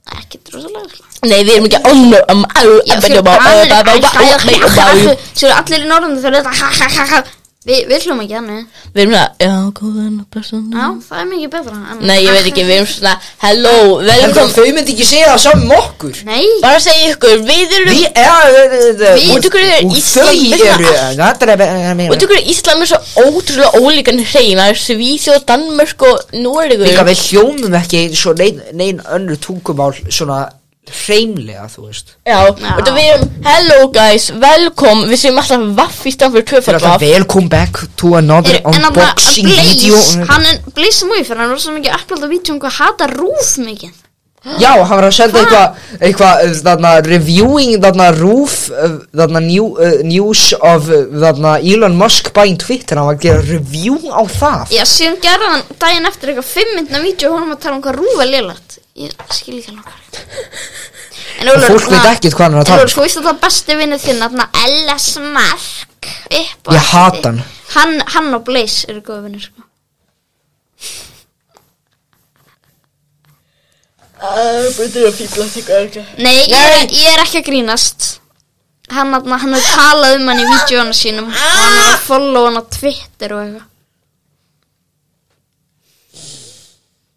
ekki drosalega sko.
Nei, við erum ekki ánur um au
Já, fyrir Danir er alltaf- svo eru allir í norðan þeir eru þetta ha, ha, ha, ha. Vi, við hlum ekki þannig
Við erum það, já, góðan og person
já,
Mm.
það er mikið betra en-
Nei, ég veit ekki, við erum svona, hello,
Heldur að
velkom
þau myndi ekki segja það saman um okkur?
nei,
Bara að segja ykkur, við erum
Við, ja,
Við-
við,
Út ykkur er
og
Ísland-
þau eru, það er að
Og þú veist, Ísland er svo ótrúlega ólíkan hreim Það er Svíþjóð, Danmörk og Noregur
Líka við hljómum ekki eins og nein, nein önnur tungumál svona hreimlega, þú veist.
Já, og þú við erum, hello guys, velkom Við segjum alltaf vaff í stand fyrir
Það er
tvöfald
alltaf
vaff
welcome back to another
er, en að
unboxing video.
Blaze hann er Blaze múið fyrir hann var svo mikið að upplóta vídeo um hvað hata rúf mikið
Já, hann var að senda eitthvað, eitthvað, uh, þarna, reviewing, þarna, roof, uh, þarna, new, uh, news of, uh, þarna, Elon Musk buying Twitter, hann var að gera review á það.
já, síðan gerði hann daginn eftir eitthvað fimm myndna vídeo og honum að tala um hvað rúf er lélagt ég skil ekki alveg hvað er. en Ólfur,
Fólk veit
svona-
ekkert hvað hann er að
En
tala.
Úlfur,
um.
sko, víst að það besti vinnið þinn, þarna Ellis Mark upp á
Ég
allt
hata
þitt.
hann.
hann Hann og Blaze eru góða vinnir, sko
Böður að fíbla þig örgla
Nei, ég er, ég er ekki að grínast Hann, þarna, hann hefur talað um hann í vídjónu sínum og
Ah!
Hann er að follow hann á Twitter og eitthvað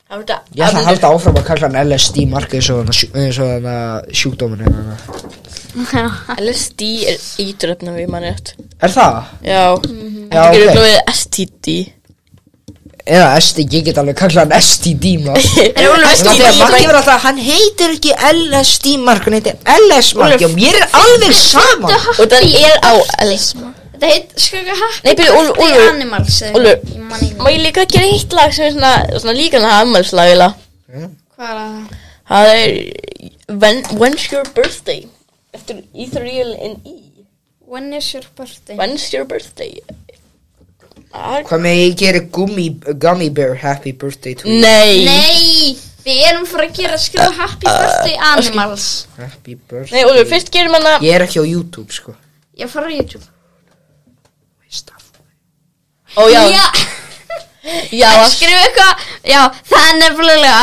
Ég ætla að halda áfram að kalla hann LSD mark eins og þannig að sjúkdómin er þarna.
LSD er ítröfna við mann rétt
Er það?
Já,
Mm.
Já,
það gerir
ok.
glóðið STD
Eða STD, ég get alveg kalla hann STD mark.
Er Ólafur
Það er að markið verið alltaf, hann heitir ekki LSD mark, hann heitir LS mark, já, mér er alveg sama.
Og það er á LSD
Þetta heit, sko, ekki happy
Nei, byrju, Úlfur,
Birthday
Úlfur.
Animals eða
Úlfur.
eitthvað. Ég man ekki
Má ég líka gera eitt lag sem er svona, svona líka hann afmælslag eiginlega?
hvað er það
Það er when, When's your birthday? Eftir Ethereal and E
When is your birthday?
When's your birthday? Ah,
Hvað með ég geri gummi, gummy bear happy birthday to you?
Nei
Nei, við erum fyrir að gera skrifa Happy
Uh,
Birthday Animals
Happy birthday.
Nei, Úlfur, fyrst gerum hann að
Ég er ekki á YouTube, sko.
Ég fara á YouTube
Ó Oh, já, já,
Ég
já
skrifa eitthvað Já, það er nefnilega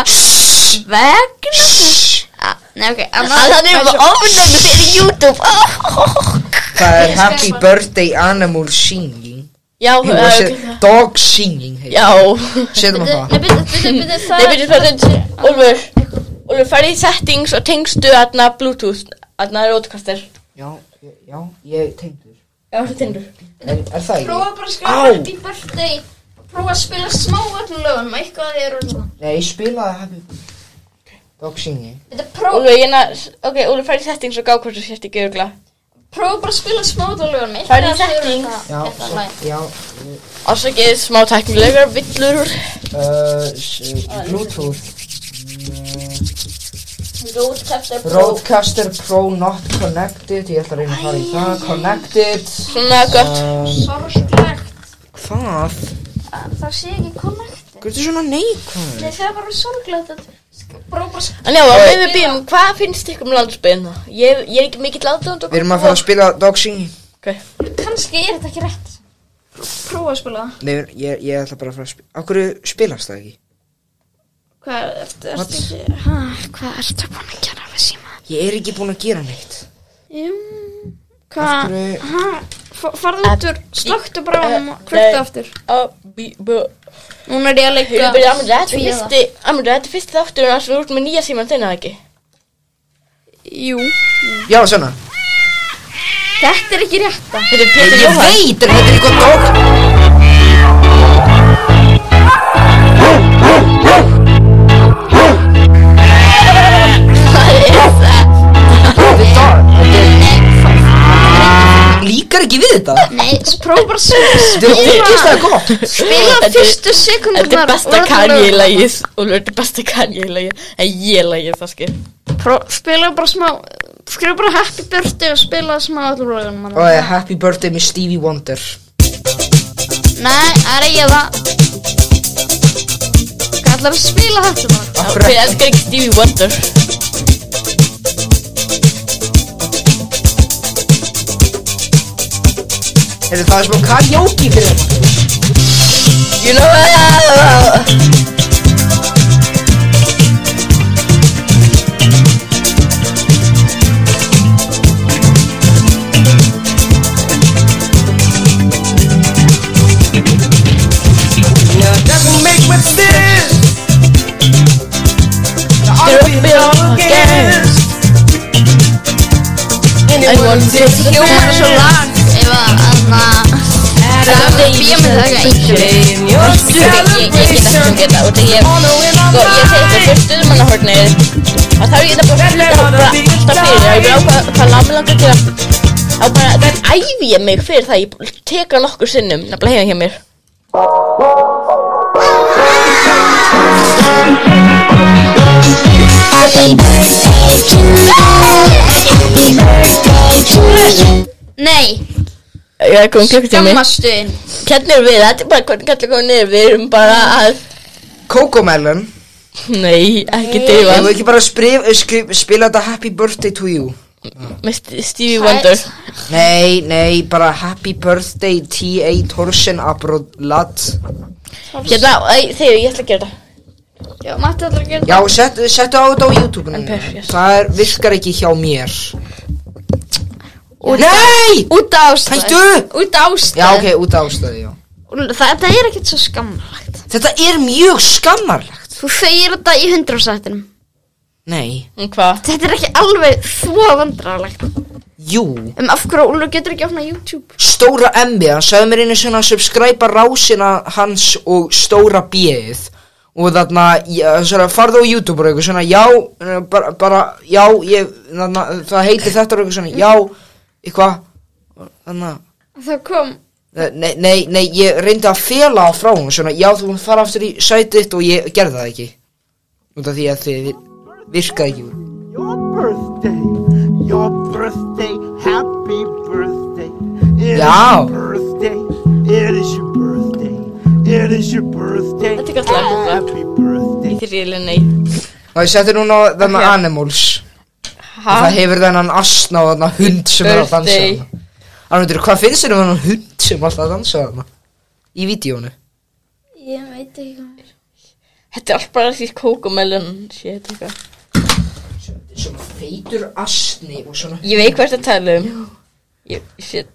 Vegna þess að- Nei, ok annað-
Hann er bara ofnæmi fyrir YouTube oh.
Það er happy birthday animal singing.
Já,
Jú,
það er
þessi Dog singing, heitir.
eh, Já
Setjum á
Nei,
það.
byrju, byrju, byrju, það
Nei, byrju, það er Úlfur Úlfur, farið í settings og tengstu aðna Bluetooth Aðna er ótkastir
Já, ég- já, ég tengdur.
Já, það tengdur
Er, er það
Prófa
ekki?
bara að skrifa
Á.
Happy Birthday Prófa að spila smá öllum lögum Eitthvað að þið eru svona
Nei, ég spilaði happy dog singing.
Þetta prófa
Úlfur, ég na Ok, Úlfur, farið í settings og gá hvort þú sért ekki örgla
Prófa bara að spila smá öllum lögum
Það er í
Eitthvað að þið eru
settings.
Já,
svona Þetta lag
já.
Ásakið smá teknilegar villur
Uh, s- Bluetooth. Nei.
Rótkastar
Roadcaster Pro not connected Ég ætla að reyna að fara í það Connected
Svona gott
uh,
Sorglegt
Hvað?
að Það sé ekki connected
Hvað er svona neikvæð?
Nei, það er bara sorglegt að sk- Prófa bara að skrifa
En já, og við býðum, hvað finnst ykkur um landsbyrna? Ég, ég er ekki mikill aðdónd og
Við erum að fara að spila Dog Singing
Kannski er þetta ekki rétt Prófa að spila það
Nei, ég, ég ætla bara að fara að spila Akkur spilast það ekki?
Hvað er þetta ekki ha, Hvað er þetta búin að gera við síma
Ég er ekki búin að gera neitt
Jum,
Af
Hvað
hverju-
ha, fa- Farðu út úr Slökktu bara á hann og Kvöktu
Nei.
aftur
Hefur
Núna er ég að leika
byrjað, Amund, þetta er
Tvíeða.
fyrsti, Amund, þetta er fyrsti þáttur en þú ert með nýja síman þeirna ekki?
Jú
Já, svona
Þetta er ekki rétta
Þetta er Pétur
Ég
Jóhann.
veit, þetta er eitthvað Dog Þetta er Dog Þetta er- Líkar ekki við þetta?
Nei, s- prófa bara að spila
Þetta er ógeðslega gott
Spila
Þetta er-
fyrstu sekundar
Þetta er besta Kanye-lægið, og þetta er besta Kanye-lægið, en ég-lægið það skil.
Spila bara smá Skrifa bara happy birthday og spila smá öllum lögunum
Og eh, happy birthday með Stevie Wonder
Nei, það er ég það Hvað ætlar að spila þetta bara?
Af
Við
hverju ekki?
elskar ekki Stevie Wonder.
Er Heyrðu, það er smá karaoke fyrir það
You know what?
Now doesn't make with this I'll
It'll
be
be
all
all
again Anyone takes you
Það er svo langt ef að, aðna,
at
það er
a
bíómynd það er ekki eitt.
in your
Ég, ég get ekki að
celebration
geta út af ég Sko, ég segi þetta fyrir stuðmannahornið Og þá er ég þetta bara fyrir þetta bara alltaf fyrir það Ég veit á hvað, hvað lag mig langar að gera Þá bara, þannig æfi ég mig fyrir það Ég teka nokkur sinnum, nefnilega heima hjá mér
Nei,
Ég er komið klukkutími
gammastuðin.
Hvernig erum við, þetta er bara hvernig kallar komið niður Við erum bara að,
Coco Melon
nei,
Ég
ekki
vil
deyfa
ekki bara sprif, skrif, spila þetta Happy Birthday to you
Með St- Stevie Wonder
Nei, nei, bara Happy Birthday T.A. Torsen Abrolat
Hérna, æ, þegar ég ætla að gera þetta
Já, Matti ætlar að gera
Já, settu set á þetta á YouTube núna.
En perfect.
Það er, virkar ekki hjá mér
Út af-
Nei!
Út af ástæð.
Hættu!
Út af ástæð.
Já, ok, út af ástæði, já
Það, það er ekkert svo skammalagt.
Þetta er mjög skammarlegt
Þú segir þetta í hundrasættinum.
Nei,
Mm, Hvað?
Þetta er ekki alveg þvó vandrarlegt.
jú
Um af hverju Úlur getur ekki opnað YouTube?
Stóra MB, hann sagði mér einu sinna að subscribe rásina hans og stóra B-ið og þarna, ja, svona, farðu á YouTube og eitthvað svona, já, eh, bara, bara já, ég, þarna, það heitir þetta og eitthvað svona, já, eitthvað þarna,
Það kom.
eh, nei, nei, nei, ég reyndi að fela á frá hún, svona, já, þú mátt fara aftur í sætið þitt og ég gerði það ekki út af því að þið virkaði ekki
Your birthday, your birthday, happy birthday. It is
Yeah.
your birthday, it is your birthday, it is your birthday.
Þetta er gott lag, þetta.
Happy birthday.
Þegar ég er nei
og ég setti núna þarna
Ok.
Animals
Ha?
Það hefur þennan asna og þennan hund sem er að dansa
Birthday.
þarna. Arnundur, hvað finnst þér um þennan hund sem er alltaf að dansa þarna? Í vídíónu
Ég veit ekki hvað.
Þetta er allt bara því kókumelun Shit, eitthvað
Svona feitur asni og svona
Ég veit hvert að tala um Ég, shit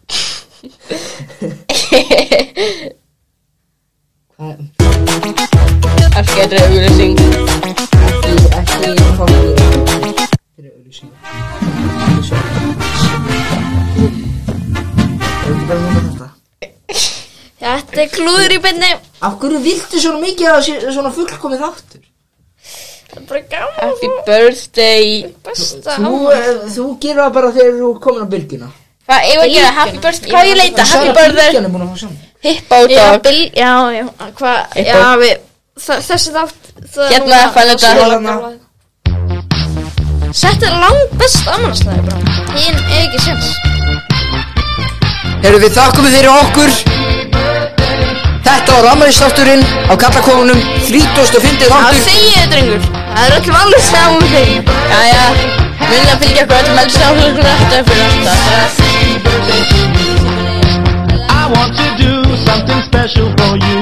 Ekki,
Afskæður að auðlýsing
ekki, ekki Fyrir auðlýsing
Þetta er klúður í beinni.
Af hverju viltu svona mikið að það sé svona fullkomið þáttur?
Það er bara gaman.
Happy birthday
Besta
Þú,
á.
eh, þú gerir það bara þegar þú er komin á bylgjuna
Hvað, eigum við að gera happy birthday Hvað á ég að leita, happy birthday
Bylgjan er búin að fá saman
Hippo
Já,
dog
bil, já, já, hvað,
Eitthvað.
já, við, þa- þessi þátt, það
Hérna, fann þetta. hérna.
Þetta er langt best ammannastæði, bara, hinn er ekki sens.
Herru við þakkum við fyrir okkur Þetta var ammælisþátturinn á kallakofunum 35.
Það
þáttur
segja þau, drengur, það er öll valið saman með þeim.
Jæja, munið að fylgja okkur öllum elsa og hlugur þetta fyrir alltaf
I want to do something special for you.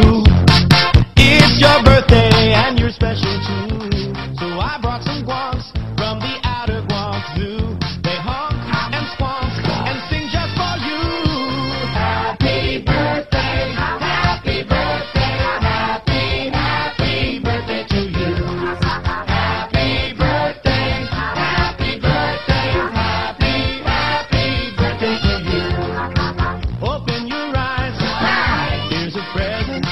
It's your birthday and you're special too. So I brought some guans from the outer Guam Zoo. They honk and squonk and sing just for you. Happy birthday, happy birthday, happy, happy birthday to you. Happy birthday, happy birthday, happy, happy birthday to you. Open your eyes. Here's a present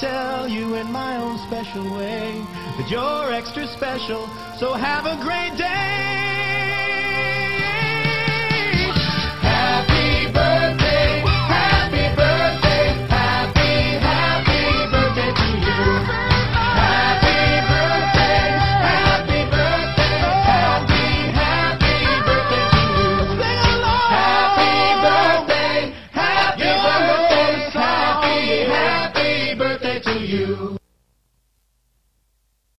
tell you in my own special way that you're extra special. So have a great day.